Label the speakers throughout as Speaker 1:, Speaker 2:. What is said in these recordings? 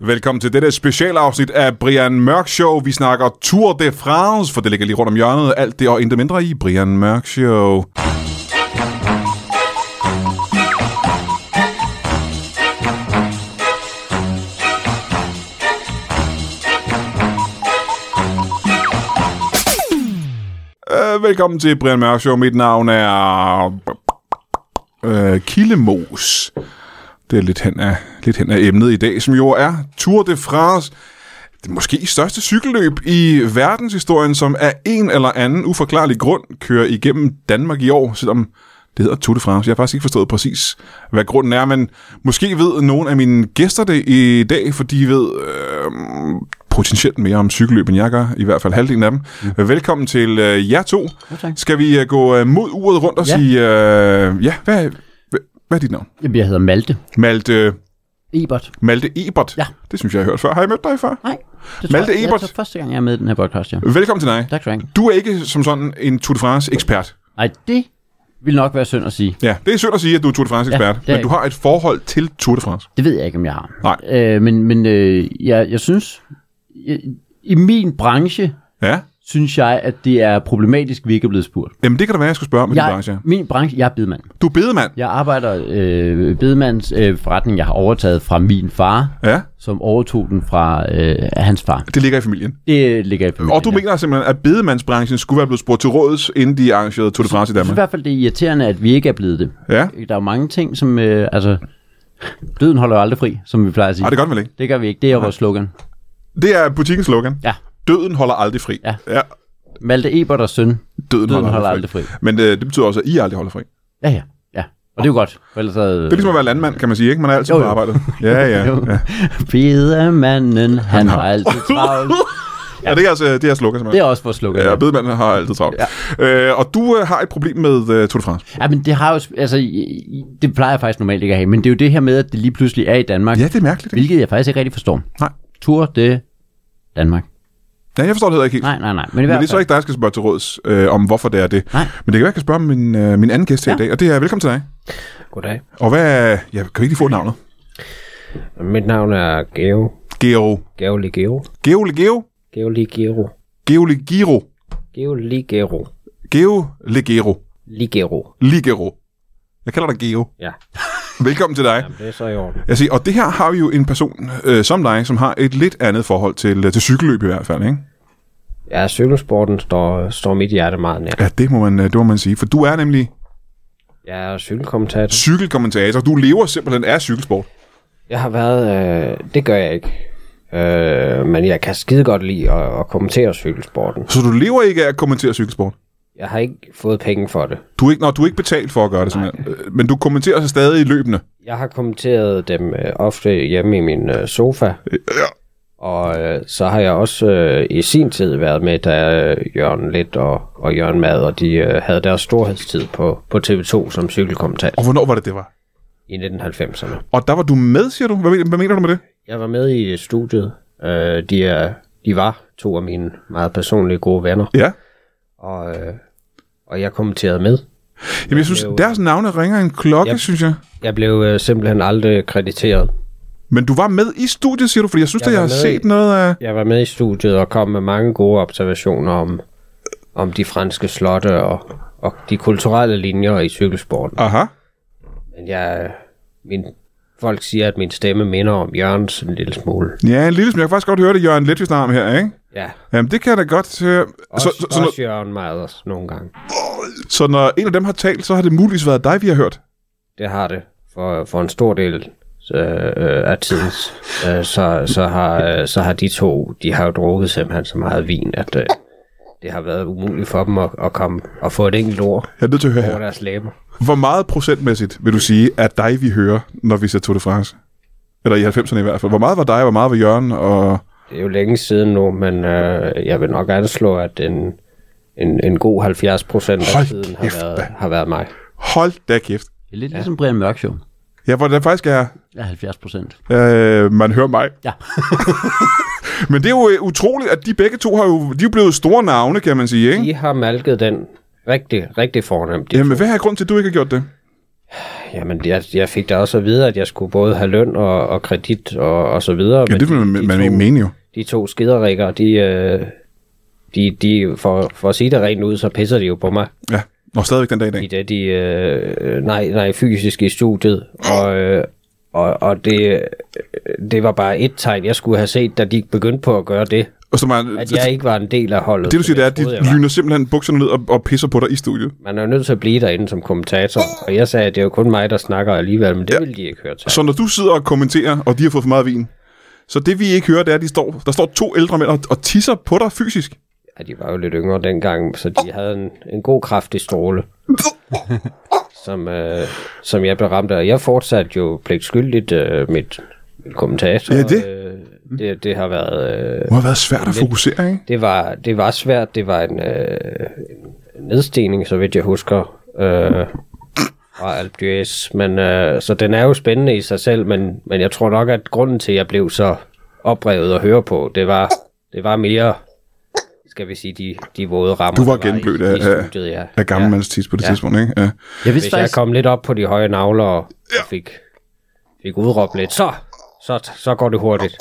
Speaker 1: Velkommen til dette specialafsnit af Brian Mørk Show. Vi snakker Tour de France, for det ligger lige rundt om hjørnet. Alt det og intet mindre i Brian Mørk Show. Øh, velkommen til Brian Mørk Show. Mit navn er... Øh, Killemos. Det er lidt hen, af, lidt hen af emnet i dag, som jo er Tour de France. Det måske største cykelløb i verdenshistorien, som af en eller anden uforklarlig grund kører igennem Danmark i år, selvom det hedder Tour de France. Jeg har faktisk ikke forstået præcis, hvad grunden er, men måske ved nogle af mine gæster det i dag, for de ved øh, potentielt mere om cykelløb, end jeg gør, i hvert fald halvdelen af dem. Mm. Velkommen til øh, jer to.
Speaker 2: tak.
Speaker 1: Skal vi øh, gå øh, mod uret rundt og ja.
Speaker 2: Ja.
Speaker 1: sige, øh, ja, hvad, hvad, hvad er dit navn?
Speaker 2: Jamen, jeg hedder Malte
Speaker 1: Malte,
Speaker 2: Ebert.
Speaker 1: Malte Ebert.
Speaker 2: Ja.
Speaker 1: Det synes jeg, jeg har hørt før. Har jeg mødt dig før?
Speaker 2: Nej, det
Speaker 1: Malte
Speaker 2: jeg,
Speaker 1: Ebert.
Speaker 2: Jeg, tror første gang, jeg er med i den her podcast, ja.
Speaker 1: Velkommen til dig.
Speaker 2: Tak skal du have.
Speaker 1: Du er ikke som sådan en Tour de France-ekspert.
Speaker 2: Ej, det vil nok være synd at sige.
Speaker 1: Ja, det er synd at sige, at du er Tour de France-ekspert,
Speaker 2: Ja, det
Speaker 1: ja,
Speaker 2: er
Speaker 1: men du
Speaker 2: jeg.
Speaker 1: har et forhold til Tour de France.
Speaker 2: Det ved jeg ikke, om jeg har.
Speaker 1: Nej.
Speaker 2: Øh, men men øh, jeg, jeg synes, jeg, i min branche,
Speaker 1: Ja,
Speaker 2: synes jeg, at det er problematisk, vi ikke er blevet spurgt.
Speaker 1: Jamen, det kan da være, jeg skulle spørge om i din
Speaker 2: jeg,
Speaker 1: branche.
Speaker 2: Min branche, jeg er bedemand.
Speaker 1: Du er bedemand.
Speaker 2: Jeg arbejder øh, bedemands øh, forretning, jeg har overtaget fra min far,
Speaker 1: Ja,
Speaker 2: som overtog den fra øh, hans far.
Speaker 1: det ligger i familien.
Speaker 2: Det ligger i familien.
Speaker 1: Og du
Speaker 2: ja.
Speaker 1: mener simpelthen, at bedemandsbranchen skulle være blevet spurgt til råds, inden de arrangerede Tour de France i
Speaker 2: Jeg synes i
Speaker 1: Danmark.
Speaker 2: hvert fald, det er irriterende, at vi ikke er blevet det.
Speaker 1: Ja,
Speaker 2: Der er jo mange ting, som... Øh, altså, døden holder jo aldrig fri, som vi plejer at sige.
Speaker 1: Ej, det gør den vel ikke.
Speaker 2: det gør vi ikke. Det er vores slogan.
Speaker 1: Det er butikkens slogan.
Speaker 2: Ja.
Speaker 1: Døden holder aldrig fri.
Speaker 2: Ja.
Speaker 1: ja
Speaker 2: Malte Ebert og søn.
Speaker 1: døden,
Speaker 2: Døden holder aldrig fri.
Speaker 1: Men øh, det betyder også, at I aldrig holder fri.
Speaker 2: Ja, ja. ja. Og det er jo godt. For ellers havde...
Speaker 1: Det er ligesom at være landmand, kan man sige, ikke? Man er altid
Speaker 2: Jo,
Speaker 1: på
Speaker 2: jo.
Speaker 1: arbejde. Ja, ja. ja.
Speaker 2: Bedemanden, han har altid travlt.
Speaker 1: Ja, det er altså det er slogan,
Speaker 2: Det
Speaker 1: simpelthen.
Speaker 2: er også vores slogan.
Speaker 1: Ja, bedemanden har altid travlt. Ja. Øh, og du øh, har et problem med øh, Tour de France.
Speaker 2: Ja, men det har jo... Altså, i- i- det plejer jeg faktisk normalt ikke at have. Men det er jo det her med, at det lige pludselig er i Danmark.
Speaker 1: Ja, det er mærkeligt. Ikke?
Speaker 2: Hvilket jeg faktisk ikke rigtig forstår.
Speaker 1: Nej.
Speaker 2: Tour de Danmark.
Speaker 1: Ja, jeg forstår det heller ikke helt.
Speaker 2: Nej, nej, nej. Men i
Speaker 1: Men
Speaker 2: hvert
Speaker 1: det er så
Speaker 2: fald...
Speaker 1: ikke dig, jeg skal spørge til råds øh, om, hvorfor det er det.
Speaker 2: Nej.
Speaker 1: Men det kan være, jeg kan spørge min, øh, min anden gæst her ja. i dag, og det er velkommen til dig.
Speaker 3: Goddag.
Speaker 1: Og hvad er, ja, kan vi ikke lige få navnet?
Speaker 3: Mit navn er Geo.
Speaker 1: Geo.
Speaker 3: Geo Ligero.
Speaker 1: Geo Legeo?
Speaker 3: Geo Ligero.
Speaker 1: Geo Legiro.
Speaker 3: Geo Ligero.
Speaker 1: Geo Legero.
Speaker 3: Ligero.
Speaker 1: Ligero. Jeg kalder dig Geo.
Speaker 3: Ja,
Speaker 1: Velkommen til dig.
Speaker 3: jamen, det er så i orden.
Speaker 1: Jeg siger, og det her har vi jo en person øh, som dig, som har et lidt andet forhold til, øh, til cykelløb i hvert fald, ikke?
Speaker 3: Ja, cykelsporten står, står mit hjerte meget nær.
Speaker 1: Ja, det må, man, øh, det må man sige. For du er nemlig
Speaker 3: Jeg er cykelkommentator.
Speaker 1: cykelkommentator. Du lever simpelthen af cykelsport.
Speaker 3: Jeg har været... Øh, det gør jeg ikke. Øh, men jeg kan skide godt lide at, at kommentere cykelsporten.
Speaker 1: Så du lever ikke af at kommentere cykelsport?
Speaker 3: Jeg har ikke fået penge for det.
Speaker 1: Du er ikke, når du er ikke betalt for at gøre det, simpelthen. Øh, Men du kommenterer så stadig løbende.
Speaker 3: Jeg har kommenteret dem øh, ofte hjemme i min øh, sofa. Og øh, så har jeg også øh, i sin tid været med, da øh, Jørgen Lidt og, og Jørgen Mad, og de øh, havde deres storhedstid på, på TV2 som cykelkommentator
Speaker 1: Og hvornår var det, det var?
Speaker 3: i 1990'erne.
Speaker 1: Og der var du med, siger du? Hvad, men- hvad mener du med det?
Speaker 3: Jeg var med i studiet. Øh, de, er, de var to af mine meget personlige gode venner,
Speaker 1: Ja.
Speaker 3: og, øh, og jeg kommenterede med.
Speaker 1: Jamen, jeg synes, deres navne ringer en klokke, yep. synes jeg.
Speaker 3: Jeg blev øh, simpelthen aldrig krediteret.
Speaker 1: Men du var med i studiet, siger du? Fordi jeg synes, jeg at
Speaker 3: Jeg
Speaker 1: jeg
Speaker 3: var
Speaker 1: har
Speaker 3: med
Speaker 1: set
Speaker 3: i-
Speaker 1: noget af...
Speaker 3: Jeg var med i studiet og kom med mange gode observationer om, om de franske slotte og, og de kulturelle linjer i cykelsporten.
Speaker 1: Aha.
Speaker 3: Men jeg, min, folk siger, at min stemme minder om Jørgens en lille smule.
Speaker 1: Ja, en lille smule. Jeg kan faktisk godt høre det, Jørgen Lidt, vi snakker om her, ikke?
Speaker 3: Ja,
Speaker 1: Jamen, det kan jeg da godt... Øh,
Speaker 3: også,
Speaker 1: så, så, så, når,
Speaker 3: også Jørgen Maders nogle gange.
Speaker 1: så når en af dem har talt, så har det muligvis været dig, vi har hørt.
Speaker 3: Det har det for, for en stor del øh, øh, af tiden. Øh, så, så, har, øh, så har de to, de har jo drukket simpelthen så meget vin, at øh, det har været umuligt for dem at, at komme og få et enkelt ord
Speaker 1: Jeg er nødt til at høre
Speaker 3: over
Speaker 1: her.
Speaker 3: deres læber.
Speaker 1: Hvor meget procentmæssigt vil du sige, at dig, vi hører, når vi ser Tour de France? Eller i 90'erne i hvert fald. Hvor meget var dig, hvor meget var Jørgen? Og...
Speaker 3: Det er jo længe siden nu, men øh, jeg vil nok anslå, at en, en, en god 70 procent af
Speaker 1: Hold
Speaker 3: tiden
Speaker 1: kæft,
Speaker 3: har været,
Speaker 1: mand.
Speaker 3: har været mig.
Speaker 1: Hold da kæft.
Speaker 2: Det er lidt ligesom Brian Mørk Show.
Speaker 1: Ja, hvor der faktisk er,
Speaker 2: Ja, 70 procent.
Speaker 1: øh, man hører mig.
Speaker 2: Ja.
Speaker 1: Men det er jo øh, utroligt, at de begge to har jo, de er jo blevet store navne, kan man sige, ikke?
Speaker 3: De har malket den rigtig, rigtig fornemt. De
Speaker 1: Jamen, hvad er grund til, at du ikke har gjort det?
Speaker 3: Jamen, jeg, jeg fik da også at vide, at jeg skulle både have løn og, og kredit og, og så videre.
Speaker 1: Ja,
Speaker 3: men
Speaker 1: det vil man, man ikke mene jo.
Speaker 3: de to skiderikker, de, øh, de, de for, for at sige det rent ud, så pisser de jo på mig.
Speaker 1: Ja. Nå, stadigvæk den dag i dag.
Speaker 3: I det, de, øh, nej, nej, fysisk i studiet. Og, øh, og, og det, det var bare et tegn, jeg skulle have set, da de begyndte på at gøre det.
Speaker 1: Og så man,
Speaker 3: At jeg ikke var en del af holdet.
Speaker 1: det du siger, det er, at de
Speaker 3: troede, jeg var.
Speaker 1: lyner simpelthen bukserne ned og, og pisser på dig i studiet.
Speaker 3: Man er jo nødt til at blive derinde som kommentator. Og jeg sagde, at det er jo kun mig, der snakker alligevel, men det ja. ville de ikke høre til.
Speaker 1: Så når du sidder og kommenterer, og de har fået for meget vin, så det vi ikke hører, det er, at de står, der står to ældre mænd og, og tisser på dig fysisk.
Speaker 3: Ja, de var jo lidt yngre dengang, så de havde en, en god kraftig stråle, som, øh, som jeg blev ramt af. Jeg fortsatte jo pligtskyldigt øh, mit, mit kommentator.
Speaker 1: Ja, det.
Speaker 3: Øh, det, det har været... Øh,
Speaker 1: Det må have været svært at fokusere, ikke?
Speaker 3: det, var, det var svært. Det var en, øh, en nedstigning, så vidt jeg husker, øh, fra Alp d'Huez. Men, øh, så den er jo spændende i sig selv, men, men jeg tror nok, at grunden til, at jeg blev så oprevet at høre på, det var, det var mere skal vi sige, de, de våde rammer.
Speaker 1: Du var
Speaker 3: der i-
Speaker 1: genblødt
Speaker 3: i
Speaker 1: af- af-
Speaker 3: studiet, ja.
Speaker 1: Af gammel ja. mands tis på det ja. tidspunkt, ikke? Ja.
Speaker 2: Jeg vidste
Speaker 3: Hvis jeg
Speaker 2: faktisk,
Speaker 3: kom lidt op på de høje navler og og fik, fik udråbt lidt, så, så, så går det hurtigt.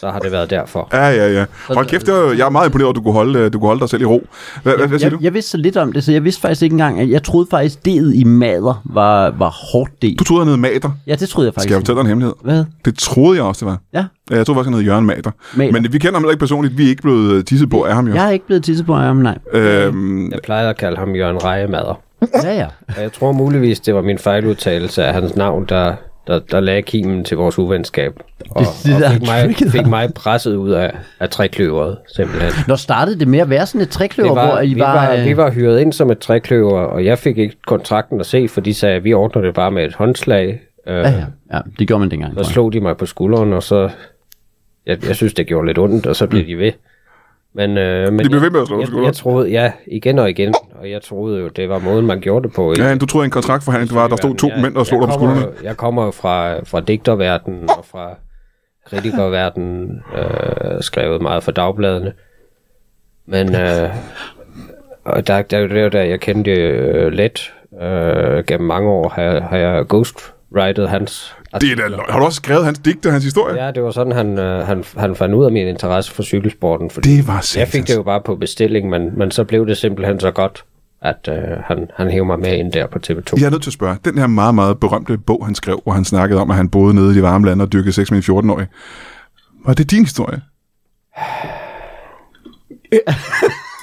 Speaker 3: Så har det været derfor.
Speaker 1: Ja, ja, ja. Hold kæft, det var, jeg er meget imponeret, at du kunne holde, øh, du kunne holde dig selv i ro. Hvad, hvad, hvad siger du?
Speaker 2: jeg, jeg vidste så lidt om det, så jeg vidste faktisk ikke engang, at jeg troede faktisk, D'et i mader var, var hårdt det.
Speaker 1: Du troede, han hed Mater.
Speaker 2: Ja, det troede jeg faktisk.
Speaker 1: Skal jeg fortælle dig en hemmelighed?
Speaker 2: Hvad?
Speaker 1: Det troede jeg også, det var.
Speaker 2: Ja,
Speaker 1: Ja, Jeg troede faktisk, han hed Jørgen Mater.
Speaker 2: Mader.
Speaker 1: Men vi kender ham heller ikke personligt. Vi er ikke blevet øh, tisset på af ham, jo.
Speaker 2: jeg er ikke blevet tisset på armen, nej.
Speaker 1: Øhm,
Speaker 3: Jeg plejer at kalde ham Jørgen Rejemader.
Speaker 2: Ja, ja.
Speaker 3: Og jeg tror muligvis, det var min fejludtalelse af hans navn, der, der, der lagde kimen til vores uvenskab. Og,
Speaker 2: det der
Speaker 3: og
Speaker 2: er
Speaker 3: fik, mig,
Speaker 2: tricket.
Speaker 3: fik mig presset ud af, af trækløveret, simpelthen.
Speaker 2: Når startede det med at være sådan et trækløver,
Speaker 3: Det var,
Speaker 2: hvor I
Speaker 3: vi,
Speaker 2: var...
Speaker 3: var,
Speaker 2: øh,
Speaker 3: vi var hyret ind som et trækløver, og jeg fik ikke kontrakten at se, for de sagde, at vi ordner det bare med et håndslag. Øh,
Speaker 2: Ja, ja. ja, det gjorde man dengang.
Speaker 3: Så
Speaker 2: tror jeg.
Speaker 3: slog de mig på skulderen, og så... Jeg, jeg synes, det gjorde lidt ondt, og så blev de ved. Men, øh, men
Speaker 1: De blev ved med at slå på
Speaker 3: jeg, jeg,
Speaker 1: skulderen.
Speaker 3: jeg troede, ja, igen og igen, og jeg troede jo, det var måden, man gjorde det på.
Speaker 1: ja, du troede, en kontraktforhandling, det var, at der stod to
Speaker 3: Jeg-
Speaker 1: mænd og slog
Speaker 3: jeg
Speaker 1: dig på
Speaker 3: kommer
Speaker 1: skuldrene.
Speaker 3: jo- Jeg kommer jo fra, fra digterverdenen og fra kritikerverdenen, øh, skrevet meget for dagbladene. Men øh, og der, der, der, der, der jeg kendte øh, let øh, gennem mange år, har, har jeg ghostwritet hans Altså,
Speaker 1: Det er da løgn. Har du også skrevet hans digte og hans historie?
Speaker 3: Ja, det var sådan, han, øh, han, han fandt ud af min interesse for cykelsporten. Fordi
Speaker 1: Det var
Speaker 3: jeg
Speaker 1: satans.
Speaker 3: fik det jo bare på bestilling, men, men så blev det simpelthen så godt, at øh, han, han hævde mig med ind der på TV2.
Speaker 1: Jeg er nødt til at spørge. Den her meget, meget berømte bog, han skrev, hvor han snakkede om, at han boede nede i de varme lande og dyrkede sex med en 14-årig. Var det din historie?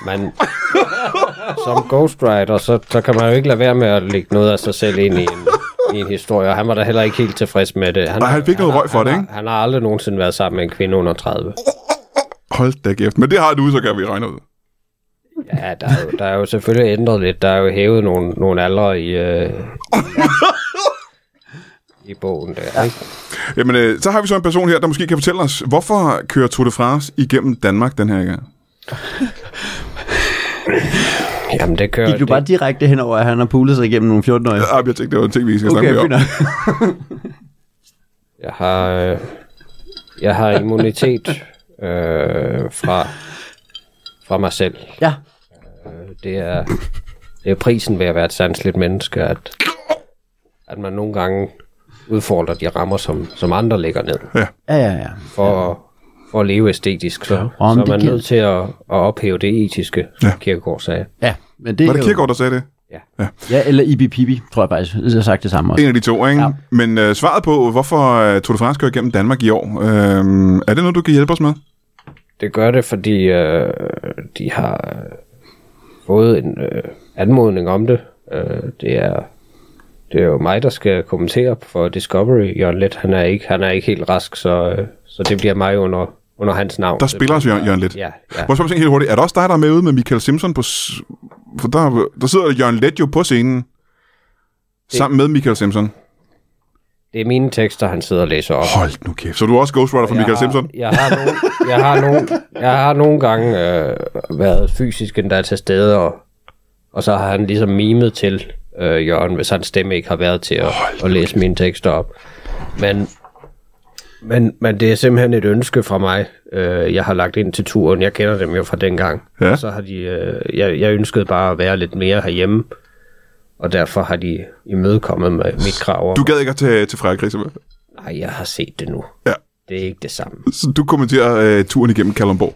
Speaker 3: Men som ghostwriter, så, så kan man jo ikke lade være med at lægge noget af sig selv ind i en, i en historie, og han var da heller ikke helt tilfreds med det. Han,
Speaker 1: Nej, han fik noget
Speaker 3: har-
Speaker 1: røg for
Speaker 3: han
Speaker 1: det,
Speaker 3: har-
Speaker 1: ikke?
Speaker 3: Han har aldrig nogensinde været sammen med en kvinde under 30.
Speaker 1: Hold da kæft. Men det har du, så kan vi regne ud.
Speaker 3: Ja, der er jo, der er jo selvfølgelig ændret lidt. Der er jo hævet nogle, nogle aldre i, øh, i, i bogen der, ikke?
Speaker 1: Jamen, øh, så har vi så en person her, der måske kan fortælle os, hvorfor kører Tour de France igennem Danmark den her gang?
Speaker 3: Jamen, det kører...
Speaker 2: Gik du
Speaker 3: det-
Speaker 2: bare direkte henover, at han har pulet sig igennem nogle 14-årige?
Speaker 1: Ja, Ah, jeg tænkte, det var en ting, vi skal
Speaker 2: Okay,
Speaker 1: snakke
Speaker 2: fint
Speaker 1: mere om.
Speaker 2: nok.
Speaker 3: Jeg har, øh, jeg har immunitet øh, fra, fra mig selv.
Speaker 2: Ja,
Speaker 3: Det er, det er prisen ved at være et sandsligt menneske, at, at man nogle gange udfordrer de rammer, som, som andre lægger ned.
Speaker 2: ja, ja. ja.
Speaker 3: For, at- for at leve æstetisk, så, så
Speaker 2: Om
Speaker 3: er
Speaker 2: det
Speaker 3: man
Speaker 2: giver-
Speaker 3: nødt til at, at ophæve det etiske, som
Speaker 1: Ja.
Speaker 3: Kierkegaard sagde.
Speaker 2: Ja, men det,
Speaker 1: Var det
Speaker 2: er jo-
Speaker 1: Kirkegaard, der sagde det?
Speaker 2: Ja, eller Ibi Pibi, tror jeg faktisk. Jeg har sagt det samme også.
Speaker 1: En af de to, ikke? Ja. Men øh, svaret på, hvorfor øh, Tour de France kører igennem Danmark i år, øh, er det noget, du kan hjælpe os med?
Speaker 3: Det gør det, fordi øh, de har øh, fået en øh, anmodning om det. Øh, det er det er jo mig, der skal kommentere for Discovery. Jørgen Let, han er ikke, han er ikke helt rask, så, øh, så det bliver mig under, under hans navn.
Speaker 1: Der spiller os Jørgen, Jørgen lidt.
Speaker 3: Ja, ja.
Speaker 1: Må jeg spørge om ting helt hurtigt? Er det også dig, der er med ude med Michael Simpson på... s- For der, der sidder Jørgen Let jo på scenen. Sammen med Michael Simpson.
Speaker 3: Det er mine tekster, han sidder og læser op.
Speaker 1: Hold nu kæft. Så du er også ghostwriter for Michael
Speaker 3: jeg
Speaker 1: Simpson?
Speaker 3: Har, jeg, har nogle, jeg, har nogle, jeg har nogle gange øh, været fysisk endda til stede, og, og så har han ligesom mimet til øh, Jørgen, hvis hans stemme ikke har været til at, at læse mine tekster op. Men, men, men det er simpelthen et ønske fra mig, øh, jeg har lagt ind til turen. Jeg kender dem jo fra dengang.
Speaker 1: Ja.
Speaker 3: Så har de, øh, jeg, jeg ønskede bare at være lidt mere herhjemme. Og derfor har de imødekommet med mit krav. om-
Speaker 1: Du gad ikke at tage til Frankrig, med.
Speaker 3: Nej, jeg har set det nu.
Speaker 1: Ja.
Speaker 3: Det er ikke det samme.
Speaker 1: Så du kommenterer øh, turen igennem Kalundborg.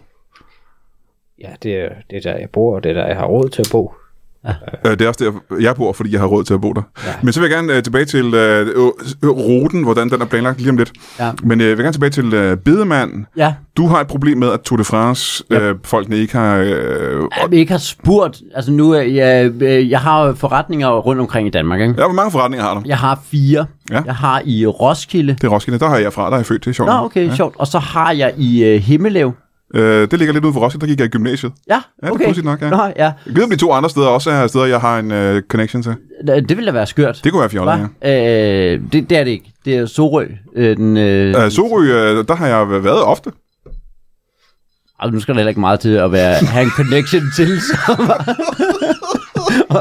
Speaker 3: Ja, det er, det er der, jeg bor, og det er der, jeg har råd til at bo.
Speaker 1: Øh, det er også der, jeg bor, fordi jeg har råd til at bo der. Ja. Men så vil jeg gerne øh, tilbage til øh, øh, ruten, hvordan den er planlagt lige om lidt.
Speaker 2: Ja.
Speaker 1: Men øh, jeg vil gerne tilbage til øh, bedemanden.
Speaker 2: Ja,
Speaker 1: Du har et problem med, at Tour de France, øh, folkene ikke har... Øh,
Speaker 2: at vi ikke har spurgt. Altså nu, øh, jeg, øh, jeg har jo forretninger rundt omkring i Danmark, ikke?
Speaker 1: ja, hvor mange forretninger har du?
Speaker 2: Jeg har fire.
Speaker 1: Ja.
Speaker 2: Jeg har i Roskilde.
Speaker 1: Det er Roskilde, der har jeg fra, der er jeg født, det er sjovt.
Speaker 2: Nå, okay, ja. sjovt. Og så har jeg i øh, Himmelev.
Speaker 1: Øh, det ligger lidt ude for Roskilde, der gik jeg i gymnasiet.
Speaker 2: Ja,
Speaker 1: Ja, det er
Speaker 2: okay.
Speaker 1: pudsigt nok, ja.
Speaker 2: Nå, ja.
Speaker 1: Jeg ved, om de to andre steder også er steder, jeg har en øh, connection til.
Speaker 2: Det ville da være skørt.
Speaker 1: Det kunne være fjollet, ja.
Speaker 2: Hva? Øh, det, det er det ikke. Det er Sorø. Øh, den, øh,
Speaker 1: Øh, Sorø, øh, der har jeg været ofte.
Speaker 2: øh. Nu skal der heller ikke meget til at være, have en connection til. Så. og,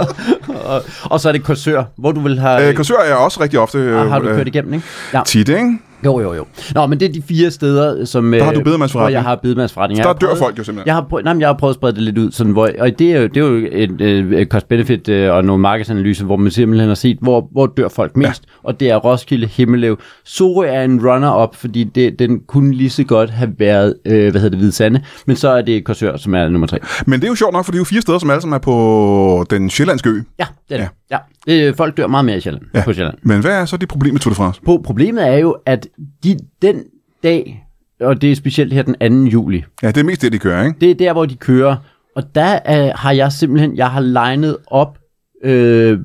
Speaker 2: og, og, så er det Korsør, hvor du vil have...
Speaker 1: Øh, Korsør er jeg også rigtig ofte. Øh,
Speaker 2: Ah, har du
Speaker 1: øh,
Speaker 2: kørt igennem, ikke? Ja.
Speaker 1: Tit, ikke?
Speaker 2: Jo, jo, jo. Nå, men det er de fire steder, som... Der
Speaker 1: har du bedemandsforretning.
Speaker 2: jeg har bedemandsforretning. Jeg
Speaker 1: Der
Speaker 2: har
Speaker 1: dør
Speaker 2: prøvet-
Speaker 1: folk jo simpelthen.
Speaker 2: Jeg har, prøvet, nej, men jeg har prøvet at sprede det lidt ud, sådan, hvor, og det er, jo- det er jo et øh, cost-benefit øh, og nogle markedsanalyser, hvor man simpelthen har set, hvor, hvor dør folk mest, ja. og det er Roskilde, Himmelev. Sorø er en runner-up, fordi det, den kunne lige så godt have været, øh, hvad hedder det, Hvide Sande, men så er det Korsør, som er nummer tre.
Speaker 1: Men det er jo sjovt nok, for det er jo fire steder, som alle sammen er på den sjællandske ø.
Speaker 2: Ja, det er det. Ja. ja. Øh, folk dør meget mere i Sjælland, ja. på Sjælland.
Speaker 1: Men hvad er så det problem med Tour de France?
Speaker 2: Pro- Problemet er jo, at de, den dag, og det er specielt her den 2. juli,
Speaker 1: Ja, det er mest det, de kører, ikke?
Speaker 2: Det er der, hvor de kører. Og der øh, har jeg simpelthen, jeg har legnet op, øh,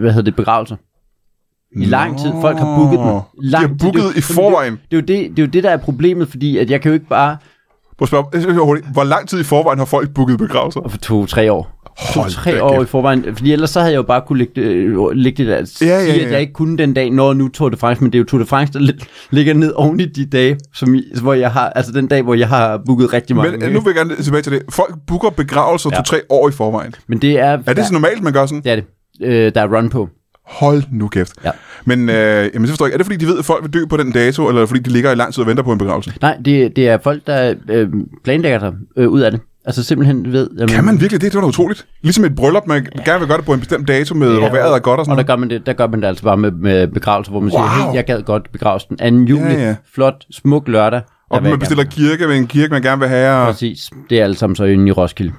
Speaker 2: hvad hedder det, begravelser. I lang tid. Folk har booket
Speaker 1: Nå.
Speaker 2: den.
Speaker 1: De har
Speaker 2: Lang tid. Det er jo-
Speaker 1: booket i
Speaker 2: jamen,
Speaker 1: forvejen.
Speaker 2: Det, det, er jo det, det er jo det, der er problemet, fordi at jeg kan jo ikke bare
Speaker 1: Prøv at spørge, jeg skal høre hurtigt. hvor lang tid i forvejen har folk booket begravelser?
Speaker 2: for to-tre år.
Speaker 1: Hold da
Speaker 2: To-tre år
Speaker 1: kæft.
Speaker 2: i forvejen. Fordi ellers så havde jeg jo bare kunne lægge, det- øh, lægge det der.
Speaker 1: Ja, ja,
Speaker 2: sige,
Speaker 1: ja.
Speaker 2: at jeg ikke kunne den dag, når nu Tour de France, men det er jo Tour de France, der lidt ligger ned oven i de dage, som, I- hvor jeg har, altså den dag, hvor jeg har booket rigtig mange.
Speaker 1: Men øh, nu vil jeg gerne tilbage til det. Folk booker begravelser ja.
Speaker 2: Ja.
Speaker 1: to-tre år i forvejen.
Speaker 2: men det er,
Speaker 1: Er det så normalt, man gør sådan?
Speaker 2: det er det. Øh, der er run på.
Speaker 1: Hold nu kæft.
Speaker 2: Ja.
Speaker 1: Men øh, jamen, så forstår jeg ikke, er det fordi, de ved, at folk vil dø på den dato, eller er det fordi de ligger i lang tid og venter på en begravelse?
Speaker 2: Nej, det, det er folk, der øh, planlægger sig øh, ud af det. Altså simpelthen ved... Jamen,
Speaker 1: Kan man virkelig det? Det var da utroligt. Ligesom et bryllup, man ja. gerne vil gøre det på en bestemt dato, med, ja, hvor vejret er godt og sådan
Speaker 2: Og der
Speaker 1: noget.
Speaker 2: gør man det, der gør man det altså bare med, med begravelser, hvor man wow. siger,
Speaker 1: Wow.
Speaker 2: hey, jeg gad godt begraves den 2. juli.
Speaker 1: Ja, ja.
Speaker 2: Flot, smuk lørdag. Der
Speaker 1: Og
Speaker 2: vil jeg
Speaker 1: man bestiller kirke ved en kirke, man gerne vil have.
Speaker 2: gerne-
Speaker 1: Og...
Speaker 2: Præcis. Det er alt sammen så inde i Roskilde.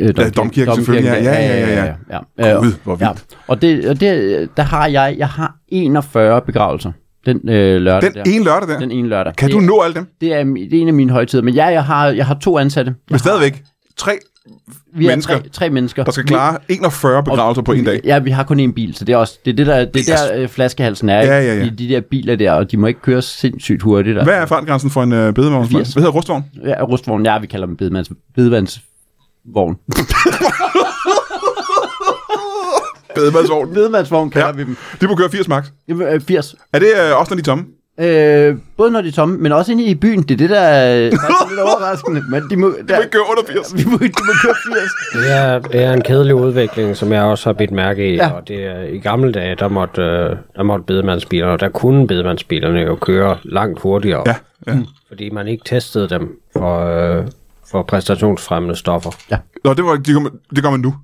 Speaker 2: Øh,
Speaker 1: Domkirken selvfølgelig, ja, ja, ja, ja, ja.
Speaker 2: ja. Øh,
Speaker 1: Gud, hvor vildt.
Speaker 2: Ja. Og, det, og det, der har jeg, jeg har 41 begravelser den øh, lørdag
Speaker 1: Den
Speaker 2: der.
Speaker 1: ene lørdag der.
Speaker 2: den ene lørdag.
Speaker 1: Kan
Speaker 2: det,
Speaker 1: du nå alle dem?
Speaker 2: Det er, det er en af mine højtider. Men ja, jeg har, jeg har to ansatte.
Speaker 1: Men stadigvæk. Tre,
Speaker 2: Vi er
Speaker 1: Mennesker.
Speaker 2: Tre, tre mennesker.
Speaker 1: der skal klare 41 begravelser altså på en dag. Altså-
Speaker 2: Ja, vi har kun én bil, så det er også det, er det der, det er der øh, flaskehalsen er. ikke?
Speaker 1: Ja, ja, ja.
Speaker 2: De, de der biler der, og de må ikke køre sindssygt hurtigt. Og,
Speaker 1: Hvad er fartgrænsen for en øh, bedemavn? Hvad
Speaker 2: 80.
Speaker 1: hedder rustvogn?
Speaker 2: Ja, rustvogn, ja, vi kalder dem bedemands, bedemandsvogn.
Speaker 1: Bedemandsvogn.
Speaker 2: Bedemandsvogn kalder
Speaker 1: Ja.
Speaker 2: ja. vi dem.
Speaker 1: De må køre 80 max.
Speaker 2: Jamen, øh, 80.
Speaker 1: Er det øh, også, når de er tomme?
Speaker 2: Øh, både når de er tomme, men også inde i byen. Det er det, der er faktisk lidt overraskende. Men de må, der,
Speaker 1: De må ikke køre under 80.
Speaker 2: vi må, de må køre 80.
Speaker 3: Det er, det er en kedelig udvikling, som jeg også har bidt mærke i, ja. og det er, i gamle dage, der måtte, øh, der måtte bedemandsbilerne, der kunne bedemandsbilerne jo køre langt hurtigere,
Speaker 1: Ja, ja.
Speaker 3: fordi man ikke testede dem for, øh, for præstationsfremmende stoffer.
Speaker 1: Nå, det, var, de gør, man, det gør man nu.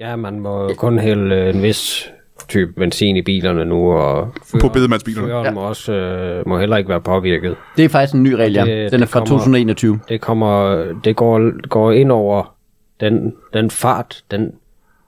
Speaker 3: Ja, man må kun hælde øh, en vis type benzin i bilerne nu, og
Speaker 1: På bedemandsbilerne.
Speaker 3: føreren ja. må, også, øh, må heller ikke være påvirket.
Speaker 2: Det er faktisk en ny regel, ja.
Speaker 3: Det- det
Speaker 2: Den er fra
Speaker 3: kommer-
Speaker 2: 2021.
Speaker 3: Det, kommer, det går, går ind over den, den fart, den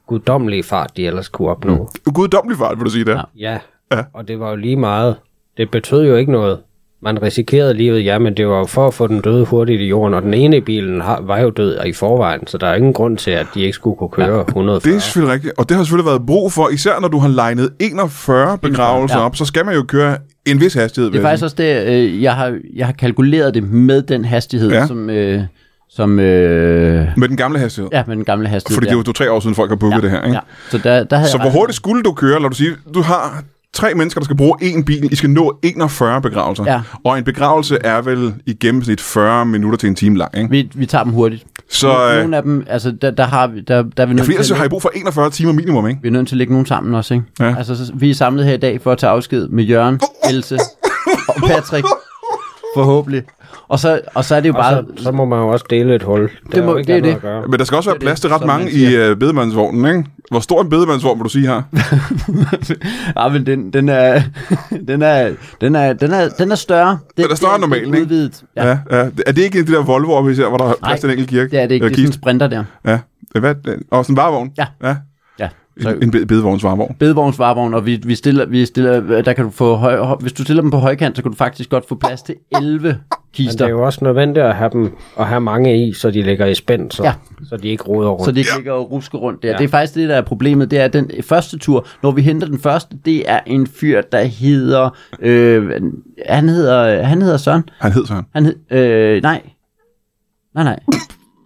Speaker 3: guddommelige fart, de ellers kunne opnå. Mm.
Speaker 1: Guddommelig fart, vil du sige det. Ja.
Speaker 3: Ja.
Speaker 1: Ja.
Speaker 3: ja, og det var jo lige meget. Det betød jo ikke noget. Man risikerede livet, ja, men det var jo for at få den døde hurtigt i jorden, og den ene i bilen har, var jo død i forvejen, så der er ingen grund til, at de ikke skulle kunne køre ja. 140.
Speaker 1: Det er selvfølgelig rigtigt, og det har selvfølgelig været brug for, især når du har legnet 41 begravelser ja.
Speaker 2: Ja.
Speaker 1: op, så skal man jo køre en vis hastighed.
Speaker 2: Det er faktisk også det, øh, jeg, har, jeg har kalkuleret det med den hastighed,
Speaker 1: Ja.
Speaker 2: ja. som, øh, som øh,
Speaker 1: Med den gamle hastighed. Ja,
Speaker 2: ja, med den gamle hastighed.
Speaker 1: fordi det
Speaker 2: der.
Speaker 1: er jo to-tre år siden, folk har booket ja. det her. Ikke?
Speaker 2: Ja, så der, der havde
Speaker 1: Så
Speaker 2: jeg
Speaker 1: hvor
Speaker 2: ret.
Speaker 1: hurtigt skulle du køre? Lad du sige, du har tre mennesker, der skal bruge én bil. I skal nå 41 begravelser.
Speaker 2: Ja.
Speaker 1: Og en begravelse er vel i gennemsnit 40 minutter til en time lang. Ikke?
Speaker 2: Vi, vi tager dem hurtigt.
Speaker 1: Så øh,
Speaker 2: Nogle af dem, altså der, der, har vi, der, der er vi nødt
Speaker 1: fordi ellers
Speaker 2: til,
Speaker 1: så
Speaker 2: at,
Speaker 1: har I brug for 41 timer minimum. Ikke?
Speaker 2: vi er nødt til at lægge nogle sammen også, ikke?
Speaker 1: Ja.
Speaker 2: Altså, så, vi er samlet her i dag for at tage afsked med Jørgen, Else og Patrick. Forhåbentlig. Og så, og så er det jo
Speaker 3: Og
Speaker 2: bare...
Speaker 3: så, så må man jo også dele et hul. Der
Speaker 2: Det må-
Speaker 3: er jo ikke
Speaker 2: det er
Speaker 3: andet
Speaker 2: det.
Speaker 3: At gøre.
Speaker 1: Men der skal også være
Speaker 2: Det er
Speaker 1: plads
Speaker 2: det,
Speaker 1: til ret
Speaker 2: som man
Speaker 1: mange i
Speaker 2: siger.
Speaker 1: øh, bedemandsvognen, ikke? Hvor stor en bedemandsvogn vil du sige her?
Speaker 2: ja, men den, den, er, den, er, den, er, den, er, den er større. Den,
Speaker 1: er større end normalt, ikke?
Speaker 2: Udvidet. Ja,
Speaker 1: Ja. ja. Er det ikke en af de der Volvo'er, vi ser, hvor der er plads til en enkelt kirke?
Speaker 2: det er det ikke.
Speaker 1: Øh,
Speaker 2: Det er sådan en
Speaker 1: kiste.
Speaker 2: sprinter der.
Speaker 1: Ja. Hvad? er det? Og sådan en varevogn?
Speaker 2: Ja.
Speaker 1: ja.
Speaker 2: Ja,
Speaker 1: En, en be- bedevogns varevogn.
Speaker 2: bedevognsvarevogn, og vi, vi stiller, vi stiller, der kan du få høj, høj- hvis du stiller dem på højkant, så kan du faktisk godt få plads til 11
Speaker 3: Men det er
Speaker 2: kister,
Speaker 3: jo også nødvendigt at have dem og have mange i, så de ligger i spænd, så,
Speaker 2: Ja.
Speaker 3: ja. så de ikke roder rundt.
Speaker 2: så de ikke ligger og rusker rundt der. Ja. Det er faktisk det, der er problemet, det er at den første tur, når vi henter den første, det er en fyr, der hedder, øh, han hedder, han hedder Søren,
Speaker 1: Han hed Søren.
Speaker 2: han hed, øh, nej, nej, nej,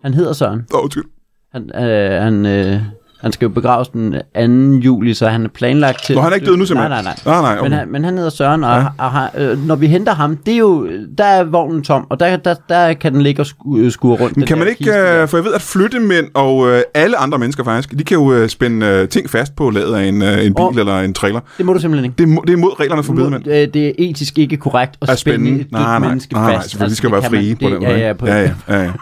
Speaker 2: han hedder Søren,
Speaker 1: Åh, undskyld.
Speaker 2: han, øh, han, øh, han skal jo begraves den 2. juli, så han er planlagt til...
Speaker 1: Nå, han er ikke død nu simpelthen?
Speaker 2: Nej, nej, nej.
Speaker 1: Nej, nej, okay.
Speaker 2: men, han, men han hedder Søren, og, ja. og, har- øh, når vi henter ham, det er jo, der er vognen tom, og der, der, der kan den ligge og sku- øh, skure rundt.
Speaker 1: Men kan man ikke, øh, for jeg ved, at flyttemænd og øh, alle andre mennesker faktisk, de kan jo øh, spænde øh, ting fast på ladet af en, øh, en bil
Speaker 2: Og-
Speaker 1: eller en trailer.
Speaker 2: Det må du simpelthen ikke.
Speaker 1: Det er, mo- det er mod reglerne for bedemænd.
Speaker 2: Det, øh, det er etisk ikke korrekt at,
Speaker 1: Er
Speaker 2: at spænde
Speaker 1: spændende.
Speaker 2: et dødt menneske
Speaker 1: nej,
Speaker 2: fast. Altså,
Speaker 1: nej, selvfølgelig. de skal
Speaker 2: det
Speaker 1: være
Speaker 2: kan man-
Speaker 1: frie på
Speaker 2: det-
Speaker 1: den måde.
Speaker 2: Ja, ja,
Speaker 1: ikke?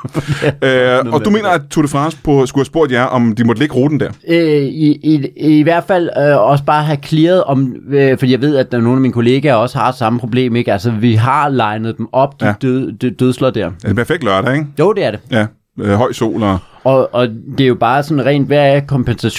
Speaker 2: på,
Speaker 1: ja, ja, ja, ja. øh, og du mener, at Tour de France på, skulle have spurgt jer, om de måtte lægge ruten der?
Speaker 2: Øh, i, i, I hvert fald øh, også bare have clearet om, øh, fordi jeg ved, at der er nogle af mine kollegaer også har samme problem, ikke? Altså, vi har legnet dem op, de
Speaker 1: Ja.
Speaker 2: ja. død, død, dødsler der.
Speaker 1: Det er en perfekt lørdag, ikke?
Speaker 2: Jo, det er det.
Speaker 1: Ja, øh, høj sol og...
Speaker 2: Og, og det er jo bare sådan rent, hvad er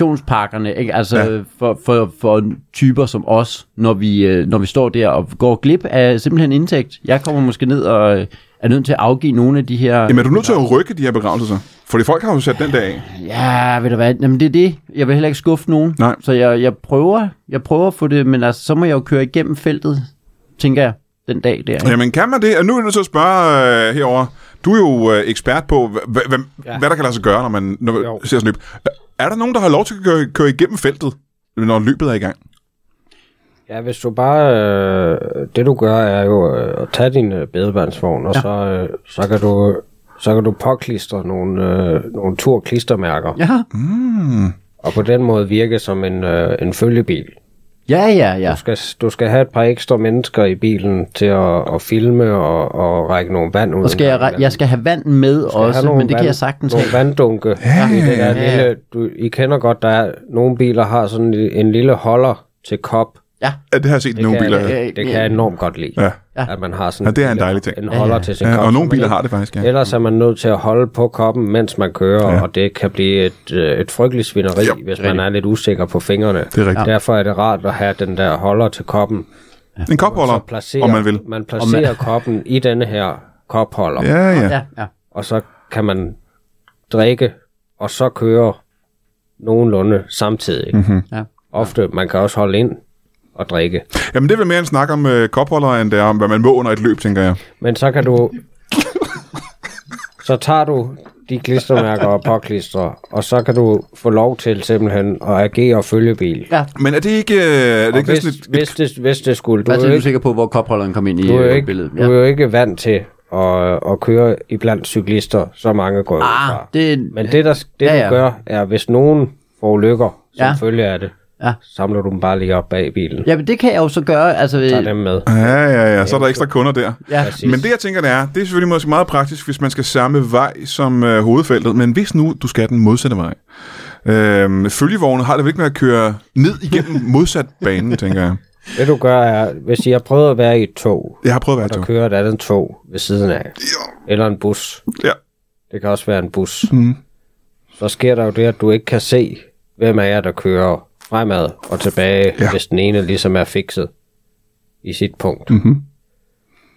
Speaker 2: kompensationspakkerne, ikke? Altså
Speaker 1: Ja.
Speaker 2: ja. for, for, for typer som os, når vi, øh, når vi står der og går glip af simpelthen indtægt. Jeg kommer måske ned og øh, er nødt til at afgive nogle af de her...
Speaker 1: Jamen, er du nødt til at rykke de her begravelser så? Fordi folk har jo sat den der af.
Speaker 2: Ja, ved du hvad, Jamen, det er det. Jeg vil heller ikke skuffe nogen.
Speaker 1: Nej.
Speaker 2: Så jeg, jeg, prøver, jeg prøver at få det, men altså, så må jeg jo køre igennem feltet, tænker jeg, den dag der. Ja.
Speaker 1: Jamen, kan man det? Og nu er jeg nødt til at spørge øh, herover. Du er jo øh, ekspert på, hva- hva- hvem-
Speaker 3: Ja.
Speaker 1: hvad der kan lade sig gøre, når man når man
Speaker 3: Jo.
Speaker 1: ser sådan et løb. Er der nogen, der har lov til at køre, køre igennem feltet, når løbet er i gang?
Speaker 3: Ja, hvis du bare... Øh, det du gør, er jo øh, at tage din øh, bedevandsvogn, og ja. så, øh, så kan du... Så kan du påklistre nogle, øh, nogle turklistermærker, ja.
Speaker 2: Ja,
Speaker 3: og på den måde virke som en, øh, en følgebil.
Speaker 2: ja, ja. ja.
Speaker 3: Du skal, du skal have et par ekstra mennesker i bilen til at, at filme og, og række nogle vand ud.
Speaker 2: Og skal jeg, re- jeg skal have vand med
Speaker 3: have
Speaker 2: også,
Speaker 3: nogle
Speaker 2: men det kan
Speaker 3: vand-
Speaker 2: jeg sagtens have.
Speaker 3: Nogle vanddunke. Ja, i det der lille, du, I kender godt, der er, nogle biler har sådan en, en lille holder til kop.
Speaker 2: Ja.
Speaker 1: Ja, det har jeg set i nogle
Speaker 3: kan
Speaker 1: biler.
Speaker 3: jeg-
Speaker 1: Ja,
Speaker 2: ja.
Speaker 3: Det kan jeg enormt godt lide.
Speaker 1: Ja.
Speaker 3: At man har sådan
Speaker 1: Ja, det er en
Speaker 3: lille-
Speaker 1: dejlig ting.
Speaker 3: En holder til sin kop.
Speaker 1: og
Speaker 3: så
Speaker 1: nogle
Speaker 3: man
Speaker 1: biler
Speaker 3: ikke-
Speaker 1: har det faktisk, ja.
Speaker 3: Ellers er man nødt til at holde på koppen, mens man kører, ja. og det kan blive et, øh, et frygteligt svineri,
Speaker 1: Ja.
Speaker 3: ja, hvis man er lidt usikker på fingrene. Det
Speaker 1: er rigtigt.
Speaker 3: Derfor er det rart at have den der holder til koppen,
Speaker 1: En kopholder,
Speaker 3: og placerer,
Speaker 1: om man vil.
Speaker 3: man placerer man... koppen i denne her kopholder,
Speaker 1: Ja, ja.
Speaker 2: Ja, ja.
Speaker 3: og så kan man drikke, og så køre nogenlunde samtidig.
Speaker 1: Mhm.
Speaker 3: Mm-hmm.
Speaker 2: Ja.
Speaker 3: Ofte, man kan også holde ind og drikke.
Speaker 1: Jamen, det er vel mere en snak om øh, kopholder, end det er om, hvad man må under et løb, tænker jeg.
Speaker 3: Men så kan du... så tager du de klistermærker og påklister, og så kan du få lov til simpelthen at agere følgebil.
Speaker 2: ja.
Speaker 1: Men er det ikke, øh, er det
Speaker 3: Og
Speaker 1: ikke
Speaker 3: hvis,
Speaker 1: næsten et, et
Speaker 3: hvis, det, hvis det skulle... Du
Speaker 2: Hvad
Speaker 3: er,
Speaker 2: er
Speaker 3: jo
Speaker 2: du
Speaker 3: ikke,
Speaker 2: sikker på, hvor kopholderen kom ind i
Speaker 3: du, er jo
Speaker 2: øh,
Speaker 3: ikke,
Speaker 2: billedet?
Speaker 3: du er jo ikke vant til at, at køre iblandt cyklister, så mange går ud
Speaker 2: Ah,
Speaker 3: fra.
Speaker 2: det,
Speaker 3: Men det, der, det
Speaker 2: Ja,
Speaker 3: ja,
Speaker 2: ja.
Speaker 3: ja. du gør, er, hvis nogen får ulykker, som
Speaker 2: Ja.
Speaker 3: ja. følge af det,
Speaker 2: Ja.
Speaker 3: ja. samler du dem bare lige op bag bilen.
Speaker 2: ja, men det kan jeg jo så gøre. Altså, øh,
Speaker 3: Tager dem med.
Speaker 1: Ja, ja, ja. Så er der ekstra kunder der.
Speaker 2: ja.
Speaker 3: Præcis.
Speaker 1: Men det, jeg tænker, det er, det er selvfølgelig måske meget praktisk, hvis man skal samme vej som øh, hovedfeltet. Men hvis nu du skal den modsatte vej, øh, følgevogne har det vel ikke med at køre ned igennem modsat banen, tænker jeg.
Speaker 3: det, du gør, er, hvis I har prøvet at være i et tog,
Speaker 1: Jeg har prøvet at være
Speaker 3: der
Speaker 1: tog.
Speaker 3: kører et andet tog ved siden af, eller en bus.
Speaker 1: Ja.
Speaker 3: Det kan også være en bus. Mm. Så sker der jo det, at du ikke kan se, hvem af jer, der kører fremad og tilbage,
Speaker 1: Ja.
Speaker 3: ja. hvis den ene ligesom er fikset i sit punkt. Mm-hmm.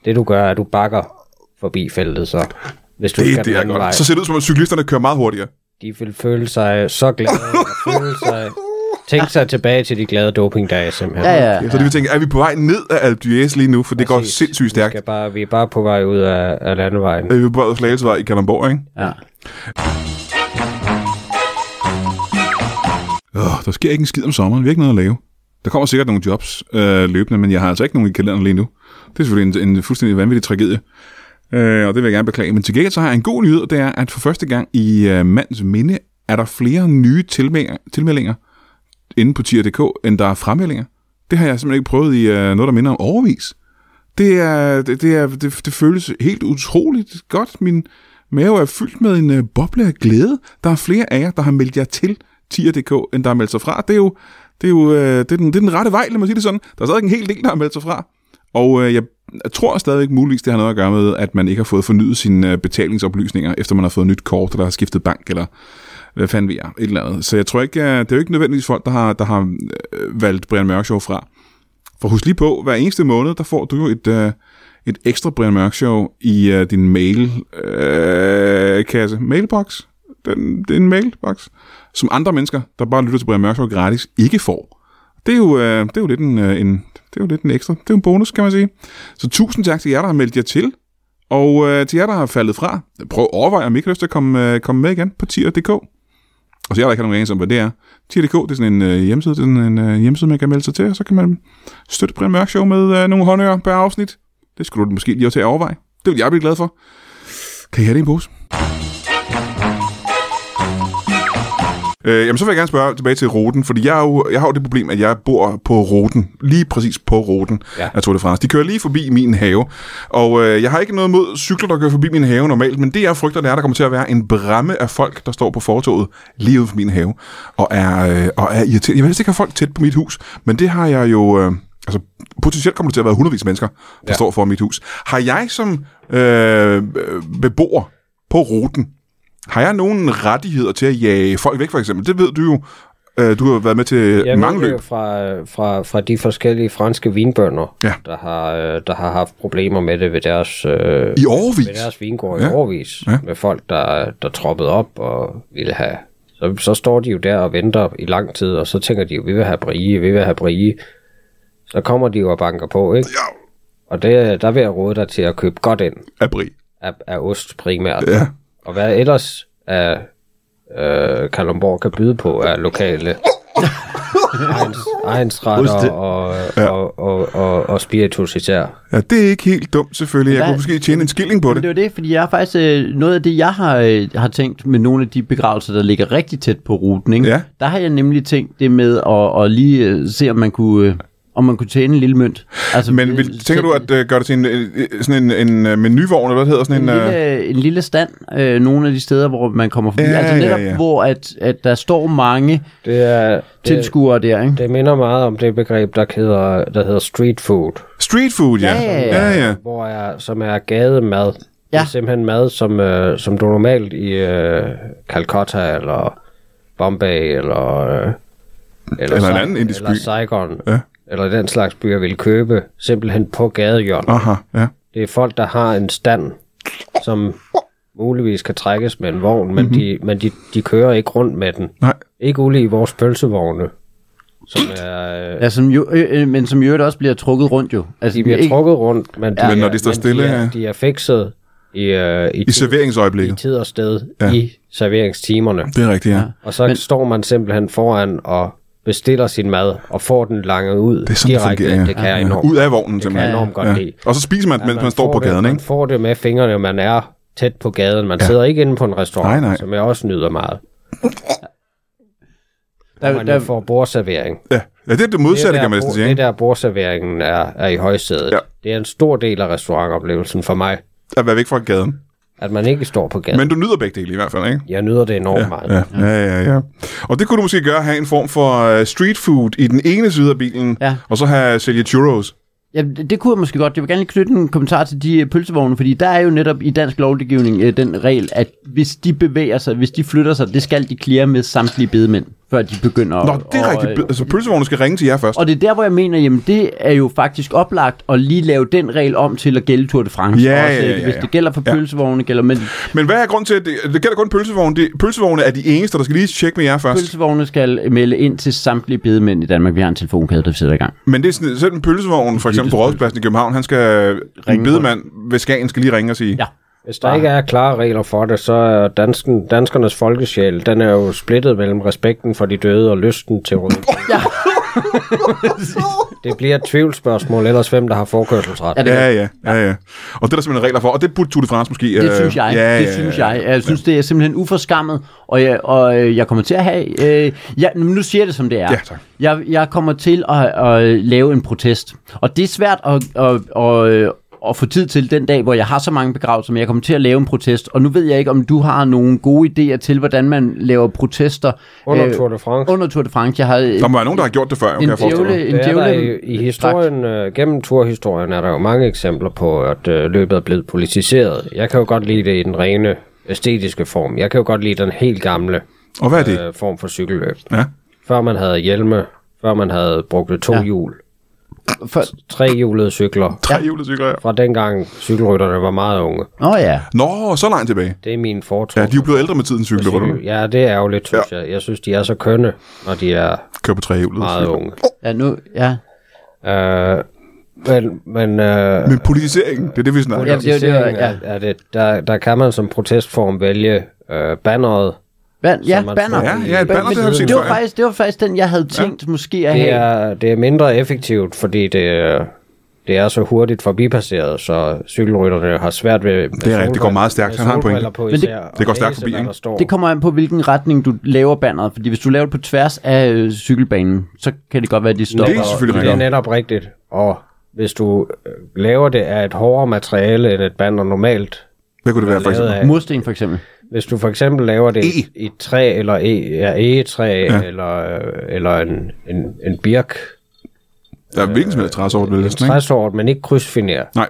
Speaker 3: Det du gør, er, at du bakker forbi feltet så. Hvis du
Speaker 1: Det,
Speaker 3: skal
Speaker 1: det
Speaker 3: den
Speaker 1: er
Speaker 3: anden vej.
Speaker 1: godt. Så ser det ud som om, cyklisterne kører meget hurtigere.
Speaker 3: De vil føle sig så glade, og føle sig... Tænk sig tilbage til de glade dopingdage, simpelthen.
Speaker 2: ja, ja.
Speaker 1: Ja. Så de vil tænke, er vi på vej ned af Alpe d'Huez lige nu, for det går sindssygt
Speaker 3: Vi,
Speaker 1: stærkt.
Speaker 3: skal bare, vi er bare på vej ud af, af landevejen.
Speaker 1: Øh, Vi er på vej ud Slagelsevej i Kalamborg, ikke?
Speaker 2: ja.
Speaker 1: Øh, der sker ikke en skid om sommeren. Vi har ikke noget at lave. Der kommer sikkert nogle jobs øh, løbende, men jeg har altså ikke nogen i kalenderen lige nu. Det er selvfølgelig en, en fuldstændig vanvittig tragedie. Øh, og det vil jeg gerne beklage. Men til gengæld så har jeg en god nyhed, og det er, at for første gang i øh, mands minde, er der flere nye tilmeldinger, tilmeldinger inde på tier.dk, end der er fremmeldinger. Det har jeg simpelthen ikke prøvet i øh, noget, der minder om overvis. Det, er, det, det, er, det, det føles helt utroligt godt. Min mave er fyldt med en øh, boble af glæde. Der er flere af jer, der har meldt jer til tier.dk, end der har meldt sig fra. Det er jo, det er jo øh, det er den, det er den rette vej, lad mig sige det sådan. Der er stadig en hel del, der har meldt sig fra. Og øh, jeg, jeg tror stadigvæk muligvis, det har noget at gøre med, at man ikke har fået fornyet sine øh, betalingsoplysninger, efter man har fået nyt kort, eller har skiftet bank, eller hvad fanden vi er, et eller andet. Så jeg tror ikke, øh, det er jo ikke nødvendigvis folk, der har, der har øh, valgt Brian Mørk Show fra. For husk lige på, hver eneste måned, der får du jo et, øh, et ekstra Brian Mørk Show i øh, din mail-kasse. Øh, kasse. Mailbox? Den, det er en mailbox, som andre mennesker, der bare lytter til Brian Mørk Show gratis, ikke får. Det er jo, øh, det er jo lidt en, øh, en, det er jo lidt en ekstra. Det er jo en bonus, kan man sige. Så tusind tak til jer, der har meldt jer til. Og øh, til jer, der har faldet fra, prøv at overveje, om I ikke har lyst til at komme, øh, komme med igen på tier.dk. Og så jeg der ikke har nogen anelse om, hvad det er. Tier.dk, det er sådan en øh, hjemmeside, det er sådan en øh, hjemmeside, man kan melde sig til, og så kan man støtte Brian Mørk Show med øh, nogle håndører per afsnit. Det skulle du måske lige til at overveje. Det vil jeg blive glad for. Kan I have det i en pose? Øh, jamen, så vil jeg gerne spørge tilbage til ruten, fordi jeg, er jo, jeg har jo det problem, at jeg bor på ruten, lige præcis på ruten ja.
Speaker 3: Ja.
Speaker 1: af Tour de France. De kører lige forbi min have, og øh, jeg har ikke noget mod cykler, der kører forbi min have normalt, men det jeg frygter, det er, at der kommer til at være en bramme af folk, der står på fortoget lige ude for min have, og er, øh, og er irriterende. Jeg vil helst ikke have folk tæt på mit hus, men det har jeg jo... Øh, altså, potentielt kommer det til at være hundredvis af mennesker, der ja. står foran mit hus. Har jeg som øh, beboer på ruten, har jeg nogen rettigheder til at jage folk væk, for eksempel? Det ved du jo. Øh, Du har været med til
Speaker 3: Jeg
Speaker 1: mange
Speaker 3: ved
Speaker 1: løb.
Speaker 3: jo fra, fra, fra de forskellige franske vinbønder,
Speaker 1: Ja.
Speaker 3: der, har, øh, der har haft problemer med det ved deres, øh,
Speaker 1: I årvis.
Speaker 2: altså-
Speaker 3: ved deres vingård
Speaker 1: Ja.
Speaker 3: i årvis,
Speaker 1: Ja.
Speaker 3: med folk, der, der troppede op og ville have... Så, så står de jo der og venter i lang tid, og så tænker de jo, vi vil have brie, vi vil have brie. Så kommer de jo og banker på, ikke?
Speaker 1: Ja,
Speaker 3: Og det, der vil jeg råde dig til at købe godt ind
Speaker 1: april.
Speaker 3: af, af ost primært.
Speaker 1: Ja.
Speaker 3: Og hvad ellers af øh, Kalundborg kan byde på er lokale
Speaker 2: Oste.
Speaker 3: egensretter og, ja. og, og, og, og spiritus især.
Speaker 1: Ja, det er ikke helt dumt, selvfølgelig. Jeg
Speaker 2: Hvad-
Speaker 1: kunne måske tjene en skilling på
Speaker 2: Men det
Speaker 1: det.
Speaker 2: er jo det, fordi jeg er faktisk øh, noget af det, jeg har, øh, har tænkt med nogle af de begravelser, der ligger rigtig tæt på ruten. Ikke?
Speaker 1: Ja.
Speaker 2: Der har jeg nemlig tænkt det med at, at lige øh, se, om man kunne, øh, om man kunne tjene en lille mønt. Altså,
Speaker 1: Men
Speaker 2: øh,
Speaker 1: vil, tænker du at øh, gøre det til en, øh, sådan en, en øh, menuvogn, eller hvad det hedder? Sådan
Speaker 2: en
Speaker 1: en, øh,
Speaker 2: lille, en lille stand, øh, nogle af de steder, hvor man kommer forbi.
Speaker 1: Ja,
Speaker 2: altså
Speaker 1: ja,
Speaker 2: netop,
Speaker 1: ja.
Speaker 2: hvor at, at der står mange
Speaker 3: Det, er, det,
Speaker 2: tilskuere der, ikke?
Speaker 3: det minder meget om det begreb, der hedder, der hedder street food,
Speaker 1: street food, ja.
Speaker 2: Ja, ja,
Speaker 1: ja.
Speaker 2: ja.
Speaker 1: ja.
Speaker 3: hvor er, som er gademad. Det
Speaker 2: Ja.
Speaker 3: er simpelthen mad, som, øh, som du normalt i øh, Calcutta eller Bombay eller... Øh,
Speaker 1: Eller en
Speaker 3: Sai-
Speaker 1: anden indisk
Speaker 3: eller
Speaker 1: by.
Speaker 3: Saigon,
Speaker 1: Ja.
Speaker 3: ja. eller den slags byer vil købe, simpelthen på gadehjørnet.
Speaker 1: Aha, ja.
Speaker 3: Det er folk, der har en stand, som muligvis kan trækkes med en vogn,
Speaker 1: Mhm.
Speaker 3: men, mm-hmm. de, men de, de kører ikke rundt med den.
Speaker 1: Nej.
Speaker 3: Ikke ulig vores pølsevogne, som er... Øh,
Speaker 2: Ja, som jo, øh, øh, men som i øvrigt også bliver trukket rundt jo. Altså,
Speaker 3: de bliver
Speaker 2: ikke,
Speaker 3: trukket rundt, men, de,
Speaker 1: Men når
Speaker 3: er-
Speaker 1: de står
Speaker 3: men
Speaker 1: stille,
Speaker 3: de
Speaker 1: ja.
Speaker 3: er, de er fikset i, øh, i,
Speaker 1: I
Speaker 3: tid, i
Speaker 1: serveringsøjeblikket.
Speaker 3: tid og sted
Speaker 1: Ja.
Speaker 3: ja. i serveringstimerne.
Speaker 1: Det er rigtigt, ja.
Speaker 3: Og så men, står man simpelthen foran og bestiller sin mad, og får den langet ud
Speaker 1: Det er sådan, det
Speaker 3: direkte.
Speaker 1: fungerer. ja.
Speaker 3: det kan jeg
Speaker 1: Ja.
Speaker 3: enormt
Speaker 1: Ud af vognen,
Speaker 3: kan jeg
Speaker 1: simpelthen.
Speaker 3: enormt godt lide.
Speaker 1: Og så spiser man, mens man står på
Speaker 3: får det,
Speaker 1: gaden,
Speaker 3: man
Speaker 1: ikke?
Speaker 3: får det med fingrene, man er tæt på gaden. Man ja. sidder ikke inde på en restaurant,
Speaker 1: Nej, nej.
Speaker 3: som jeg også nyder meget.
Speaker 2: der,
Speaker 3: Man der,
Speaker 2: der,
Speaker 3: får bordservering.
Speaker 1: Ja, ja det er det
Speaker 3: Det er,
Speaker 1: modsatte,
Speaker 3: der,
Speaker 1: kan man næsten
Speaker 3: bord,
Speaker 1: sige,
Speaker 3: det er
Speaker 1: ikke?
Speaker 3: der bordserveringen er, er i højsædet.
Speaker 1: Ja.
Speaker 3: Ja. Det er en stor del af restaurantoplevelsen for mig,
Speaker 1: At være væk fra gaden.
Speaker 3: at man ikke står på gaden.
Speaker 1: Men
Speaker 3: Men,
Speaker 1: du nyder begge dele i hvert fald, ikke?
Speaker 3: jeg nyder det enormt ja, meget.
Speaker 1: Ja, ja, ja, ja. Og det kunne du måske gøre, have en form for uh, street food i den ene side af bilen,
Speaker 2: Ja.
Speaker 1: og så have sælge churros.
Speaker 2: ja, det det kunne jeg måske godt. Jeg vil gerne lige knytte en kommentar til de øh, pølsevogne, fordi der er jo netop i dansk lovgivning øh, den regel, at hvis de bevæger sig, hvis de flytter sig, det skal de klire med samtlige bedemænd, før de begynder
Speaker 1: Nå,
Speaker 2: at...
Speaker 1: det er
Speaker 2: at-
Speaker 1: rigtigt. Altså, pølsevognen skal ringe til jer først.
Speaker 2: Og det er der, hvor jeg mener, jamen det er jo faktisk oplagt at lige lave den regel om til at gælde Tour de France.
Speaker 1: Ja,
Speaker 2: også,
Speaker 1: ja,
Speaker 2: ikke?
Speaker 1: ja,
Speaker 2: Hvis
Speaker 1: ja.
Speaker 2: det gælder for
Speaker 1: Ja. Altså-
Speaker 2: pølsevogne, gælder men
Speaker 1: Men hvad er grunden til, at det, det gælder kun pølsevognen? Det, pølsevogne er de eneste, der skal lige tjekke med jer først.
Speaker 2: pølsevogne skal melde ind til samtlige bedemænd i Danmark. Vi har en telefonkæde, der sidder i gang.
Speaker 1: Men det er sådan, selv en pølsevogn, for eksempel på Rådspladsen i København, han skal ringe en bedemand ved Skagen skal lige ringe og sige,
Speaker 2: Ja.
Speaker 3: Hvis der ikke er klare regler for det, så er dansken, danskernes folkesjæl, den er jo splittet mellem respekten for de døde og lysten til rød.
Speaker 2: Ja.
Speaker 3: Det bliver et tvivlsspørgsmål, ellers hvem der har forkørselsret.
Speaker 2: Ja, det,
Speaker 1: Ja, ja, ja, ja. Og det er der simpelthen regler for, og det burde Tour de France måske...
Speaker 2: det
Speaker 1: øh,
Speaker 2: synes jeg.
Speaker 1: Ja,
Speaker 2: det
Speaker 1: ja,
Speaker 2: synes
Speaker 1: ja.
Speaker 2: jeg. Altså, Jeg synes, det er simpelthen uforskammet, og jeg, og øh, jeg kommer til at have... Øh, jeg, nu siger jeg det, som det er.
Speaker 1: Ja, tak.
Speaker 2: Jeg, jeg kommer til at, at lave en protest, og det er svært at, at, at, at, at få tid til den dag, hvor jeg har så mange begravelser, men jeg kommer til at lave en protest, og nu ved jeg ikke, om du har nogle gode idéer til, hvordan man laver protester
Speaker 3: Under
Speaker 2: øh,
Speaker 3: Tour de France.
Speaker 2: under Tour de France. Jeg har øh,
Speaker 1: Der må være nogen, der har gjort det før, jo, kan
Speaker 2: en
Speaker 1: jeg forestille mig.
Speaker 2: djævle... En
Speaker 3: Det er der
Speaker 2: djævle
Speaker 3: i, i historien, øh, gennem turhistorien er der jo mange eksempler på, at øh, løbet er blevet politiseret. Jeg kan jo godt lide det i den rene æstetiske form. Jeg kan jo godt lide den helt gamle
Speaker 1: Og hvad er det?
Speaker 3: øh, form for cykelløb.
Speaker 1: Ja.
Speaker 3: Før man havde hjelme, før man havde brugt to hjul,
Speaker 2: For...
Speaker 3: trehjulede cykler.
Speaker 1: Tre julecykler, ja.
Speaker 3: Fra dengang cykelrytterne var meget unge.
Speaker 2: Nå ja.
Speaker 1: Nå, så langt tilbage.
Speaker 3: Det er min
Speaker 1: Ja,
Speaker 3: foretog.
Speaker 1: de er jo blevet ældre med tiden, cykler, hvor du
Speaker 3: Ja, det er jo lidt, synes jeg. Jeg synes, de er så kønne, når de er
Speaker 1: kører på trehjulet.
Speaker 3: meget unge.
Speaker 2: ja, nu... Ja.
Speaker 3: Øh, men men øh,
Speaker 1: Men politiseringen, det er det, vi snakker
Speaker 2: Ja,
Speaker 1: om.
Speaker 2: det er jo det,
Speaker 3: Politisering
Speaker 2: ja.
Speaker 3: er- er det, der, der kan man som protestform vælge øh, banneret.
Speaker 2: Ban- ja,
Speaker 3: Som man
Speaker 2: banner.
Speaker 3: får
Speaker 1: Ja, ja, et banner, det har vi set
Speaker 2: det var,
Speaker 1: før, ja.
Speaker 2: faktisk, det var faktisk den, jeg havde tænkt måske at
Speaker 3: Det
Speaker 2: have.
Speaker 3: er, det er mindre effektivt, fordi det, øh, det er så hurtigt forbipasseret, så cykelrytterne har svært ved...
Speaker 1: Det er rigtigt, det går meget stærkt. Han har en pointe.
Speaker 2: Men det-
Speaker 1: det går stærkt forbi, ikke?
Speaker 2: Det kommer an på, hvilken retning du laver banneret. Fordi hvis du laver det på tværs af øh, cykelbanen, så kan det godt være, at de stopper.
Speaker 1: Det er selvfølgelig
Speaker 3: Det er
Speaker 1: rigtigt.
Speaker 3: netop rigtigt. Og hvis du øh, laver det af et hårdere materiale end et banner normalt,
Speaker 1: Hvad kunne det være, for
Speaker 3: lavet
Speaker 1: eksempel? E.
Speaker 3: af
Speaker 2: Mursten for eksempel.
Speaker 3: Hvis du for eksempel laver det i, i et træ, eller e, ja, egetræ, ja. eller, øh, eller en, en, en birk,
Speaker 1: Der er hvilken som helst træsort, vel? næsten, ikke?
Speaker 3: træsort, men ikke krydsfiner.
Speaker 1: Nej.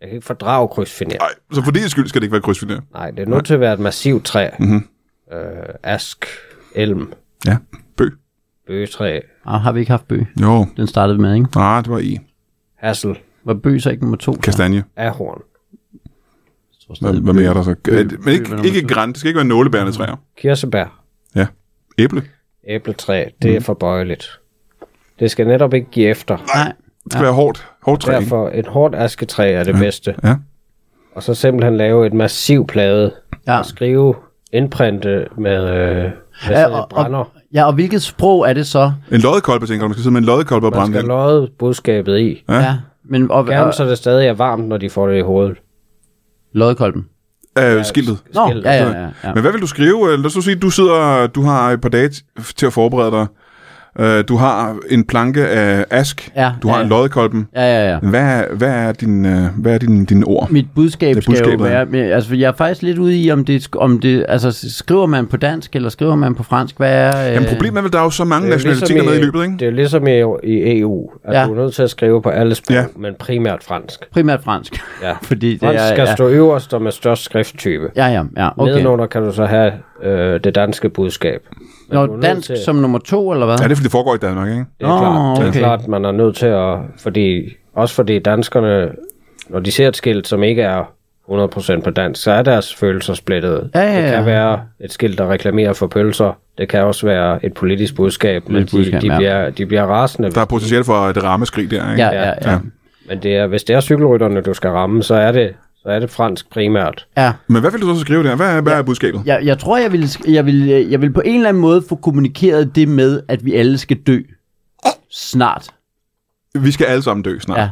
Speaker 3: Jeg kan ikke fordrage krydsfiner.
Speaker 1: Nej, så for det skyld skal det ikke være krydsfiner.
Speaker 3: Nej, det er nødt til at være et massivt træ.
Speaker 1: Mhm.
Speaker 3: Mm-hmm. Øh, ask, elm,
Speaker 1: Ja. Bø.
Speaker 3: bøgetræ,
Speaker 2: Ah, har vi ikke haft bøg?
Speaker 1: Jo.
Speaker 2: Den startede vi med, ikke?
Speaker 1: Nej, Ah, det var i.
Speaker 3: hassel,
Speaker 2: Var bøg så ikke nummer to? så?
Speaker 1: Kastanje.
Speaker 3: ahorn,
Speaker 2: Jeg tror
Speaker 1: Hvad,
Speaker 2: stadig,
Speaker 1: hvad mere er
Speaker 2: bøg-
Speaker 1: der så? Øh, Men ikke, ikke græn. Det skal ikke være nålebærende træer.
Speaker 3: kirsebær,
Speaker 1: Ja. Æble.
Speaker 3: æbletræ. Det
Speaker 1: Mhm.
Speaker 3: er forbøjeligt. Det skal netop ikke give efter.
Speaker 2: Nej.
Speaker 1: Det skal være hårdt. Hårdt træ, ikke?
Speaker 3: Derfor et hårdt asketræ er det bedste.
Speaker 1: Ja.
Speaker 3: Og så simpelthen lave et massiv plade.
Speaker 2: Ja.
Speaker 3: Og skrive, indprinte med, øh, med
Speaker 2: Ja,
Speaker 3: ja,
Speaker 2: og,
Speaker 3: brænder.
Speaker 2: og, ja, og hvilket sprog er det så?
Speaker 1: En loddekolbe, tænker du. Man skal sidde med en loddekolbe og
Speaker 3: Man
Speaker 1: brænde
Speaker 3: skal
Speaker 1: den.
Speaker 3: lodde budskabet i.
Speaker 1: Ja.
Speaker 2: Men og, og,
Speaker 3: Gerne så det stadig er varmt, når de får det i hovedet.
Speaker 2: loddekolben.
Speaker 1: Øh, skiltet.
Speaker 2: Nå,
Speaker 3: Skæld.
Speaker 2: ja, ja, ja. ja.
Speaker 1: Men hvad vil du skrive? Øh, Lad os nu sige, du sidder, du har et par dage t- til at forberede dig. Øh, Du har en planke af ask.
Speaker 2: Ja,
Speaker 1: du har
Speaker 2: ja.
Speaker 1: en loddekolben.
Speaker 2: ja, ja, ja.
Speaker 1: Hvad, hvad er, din, øh, hvad er din, dine ord?
Speaker 2: Mit budskab
Speaker 1: Det er
Speaker 2: skal jo
Speaker 1: budskabet, ja.
Speaker 2: være, men, altså jeg er faktisk lidt ude i, om det, sk- om det, altså skriver man på dansk, eller skriver man på fransk, hvad er... Øh,
Speaker 1: Jamen problemet er vel, der er jo så mange
Speaker 3: Det er
Speaker 2: ligesom
Speaker 3: jo
Speaker 1: nationaliteter med i løbet, ikke?
Speaker 3: Det er jo ligesom i, i EU, at
Speaker 2: Ja.
Speaker 3: ja. du er nødt til at skrive på alle sprog,
Speaker 1: Ja.
Speaker 3: ja. men primært fransk.
Speaker 2: Primært fransk.
Speaker 3: Ja.
Speaker 2: Fordi det
Speaker 3: fransk
Speaker 2: er,
Speaker 3: skal
Speaker 2: ja.
Speaker 3: stå øverst og med størst skrifttype.
Speaker 2: Ja, ja, ja,
Speaker 3: Okay.
Speaker 2: okay.
Speaker 3: Nedenunder kan du så have øh, det danske budskab. Men du er
Speaker 2: Nå,
Speaker 3: nødt
Speaker 2: dansk
Speaker 3: til-
Speaker 2: som nummer to, eller hvad?
Speaker 1: Ja, det er fordi, det foregår i Danmark, ikke?
Speaker 3: Det er,
Speaker 2: Nå,
Speaker 3: klart, det
Speaker 2: okay.
Speaker 3: er klart, man er nødt til at... Fordi, også fordi danskerne, når de ser et skilt, som ikke er 100% på dansk, så er deres følelser splittet.
Speaker 2: Ja, ja,
Speaker 3: Det
Speaker 2: ja.
Speaker 3: kan være et skilt, der reklamerer for pølser. Det kan også være et politisk budskab, men
Speaker 2: Politisk
Speaker 3: de,
Speaker 2: budskab,
Speaker 3: de,
Speaker 2: ja.
Speaker 3: bliver, de bliver rasende.
Speaker 1: Der er potentiale for et rammeskrig der, ikke?
Speaker 2: ja, ja, ja. ja.
Speaker 3: Men det er, hvis det er cykelrytterne, du skal ramme, så er det, så er det fransk primært.
Speaker 2: ja.
Speaker 1: Men hvad vil du så skrive der? Hvad er, hvad er budskabet?
Speaker 2: Jeg, jeg tror, jeg vil, jeg, vil, jeg vil på en eller anden måde få kommunikeret det med, at vi alle skal dø. Snart.
Speaker 1: Vi skal alle sammen dø snart.
Speaker 2: Ja.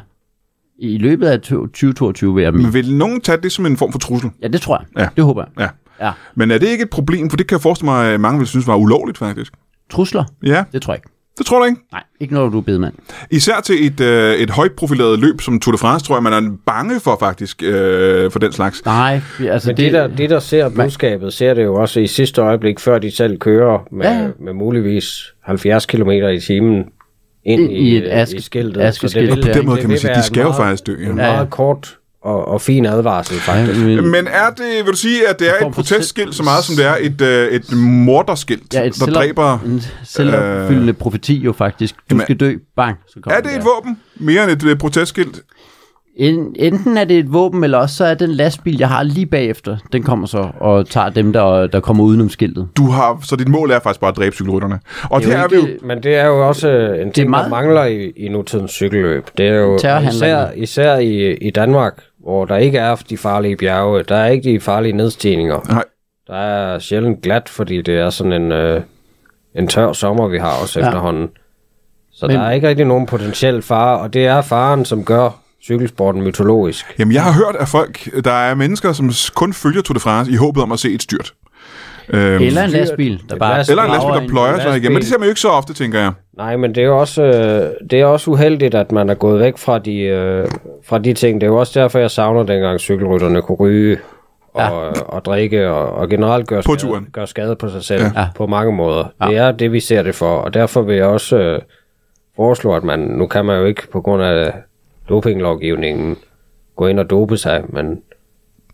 Speaker 2: I løbet af to- 2022 vil jeg
Speaker 1: Men vil nogen tage det som en form for trussel?
Speaker 2: Ja, det tror jeg.
Speaker 1: Ja.
Speaker 2: Det håber jeg.
Speaker 1: Ja.
Speaker 2: Ja.
Speaker 1: Men er det ikke et problem? For det kan jeg forestille mig, at mange vil synes var ulovligt, faktisk.
Speaker 2: Trusler?
Speaker 1: Ja,
Speaker 2: Det tror jeg ikke.
Speaker 1: det tror jeg ikke.
Speaker 2: Nej, ikke når du er bedemand.
Speaker 1: Især til et, øh, et højt profileret løb som Tour de France, tror jeg, man er bange for faktisk, øh, for den slags.
Speaker 2: Nej, vi- altså
Speaker 3: Men
Speaker 2: det...
Speaker 3: det, der, det, der ser budskabet, ser det jo også i sidste øjeblik, før de selv kører med,
Speaker 2: Ja, ja.
Speaker 3: ja. med muligvis 70 km i timen ind
Speaker 2: Ind
Speaker 3: i,
Speaker 2: i et
Speaker 3: øh,
Speaker 2: aske-
Speaker 3: i skiltet.
Speaker 2: askeskilt.
Speaker 3: vil-
Speaker 2: På den
Speaker 1: måde
Speaker 3: det
Speaker 1: kan man
Speaker 3: vil
Speaker 1: sige, de
Speaker 3: være
Speaker 1: skal jo
Speaker 3: meget-
Speaker 1: faktisk dø, ja.
Speaker 3: En
Speaker 2: Ja, ja.
Speaker 3: meget kort og, og fin advarsel, faktisk.
Speaker 2: Ja, men-
Speaker 1: Men er det, vil du sige, at det er
Speaker 2: form
Speaker 1: et
Speaker 2: for
Speaker 1: protestskilt
Speaker 2: selv-
Speaker 1: så meget, som det er et, øh, et morderskilt,
Speaker 2: ja,
Speaker 1: der
Speaker 2: et selv-
Speaker 1: dræber...
Speaker 2: En selvopfyldende øh... profeti jo faktisk. Du
Speaker 1: Jamen-
Speaker 2: skal dø. Bang. Så kommer
Speaker 1: Er det
Speaker 2: der.
Speaker 1: et våben mere end et øh, protestskilt?
Speaker 2: En, enten er det et våben, eller også så er den lastbil, jeg har lige bagefter, den kommer så og tager dem, der, der kommer udenom skiltet.
Speaker 1: Du har, så dit mål er faktisk bare at dræbe cykelrytterne. Og det, det er vi jo...
Speaker 3: Men det er jo også øh, en ting,
Speaker 2: meget-
Speaker 3: der mangler i, i nutidens cykelløb. Det er jo
Speaker 2: Terrorhandlinger.
Speaker 3: især, især i, i Danmark, hvor der ikke er de farlige bjerge, der er ikke de farlige nedstigninger.
Speaker 1: Nej.
Speaker 3: Der er sjældent glat, fordi det er sådan en, øh, en tør sommer, vi har også
Speaker 2: Ja.
Speaker 3: ja. efterhånden. Så
Speaker 2: Men-
Speaker 3: Men... der er ikke rigtig nogen potentiel fare, og det er faren, som gør cykelsporten mytologisk.
Speaker 1: Jamen, jeg har hørt af folk, der er mennesker, som s- kun følger Tour de France i håbet om at se et styrt. Øhm,
Speaker 2: Eller en lastbil, der
Speaker 3: Et
Speaker 2: bare...
Speaker 3: last-
Speaker 1: eller en lastbil,
Speaker 2: brager
Speaker 1: der
Speaker 2: ind.
Speaker 1: pløjer sig igennem. Men det
Speaker 3: lastbil.
Speaker 1: ser man jo ikke så ofte, tænker jeg.
Speaker 3: Nej, men det er jo også, øh, det er også uheldigt, at man er gået væk fra de, øh, fra de ting. Det er jo også derfor, jeg savner dengang cykelrytterne kunne ryge og, ja. og drikke og, og generelt gøre
Speaker 1: På
Speaker 3: skade,
Speaker 1: turen.
Speaker 3: gøre skade på sig selv ja. på mange måder. Ja. Det er det, vi ser det for, og derfor vil jeg også øh, foreslå, at man, nu kan man jo ikke på grund af dopinglovgivningen gå ind og dope sig, men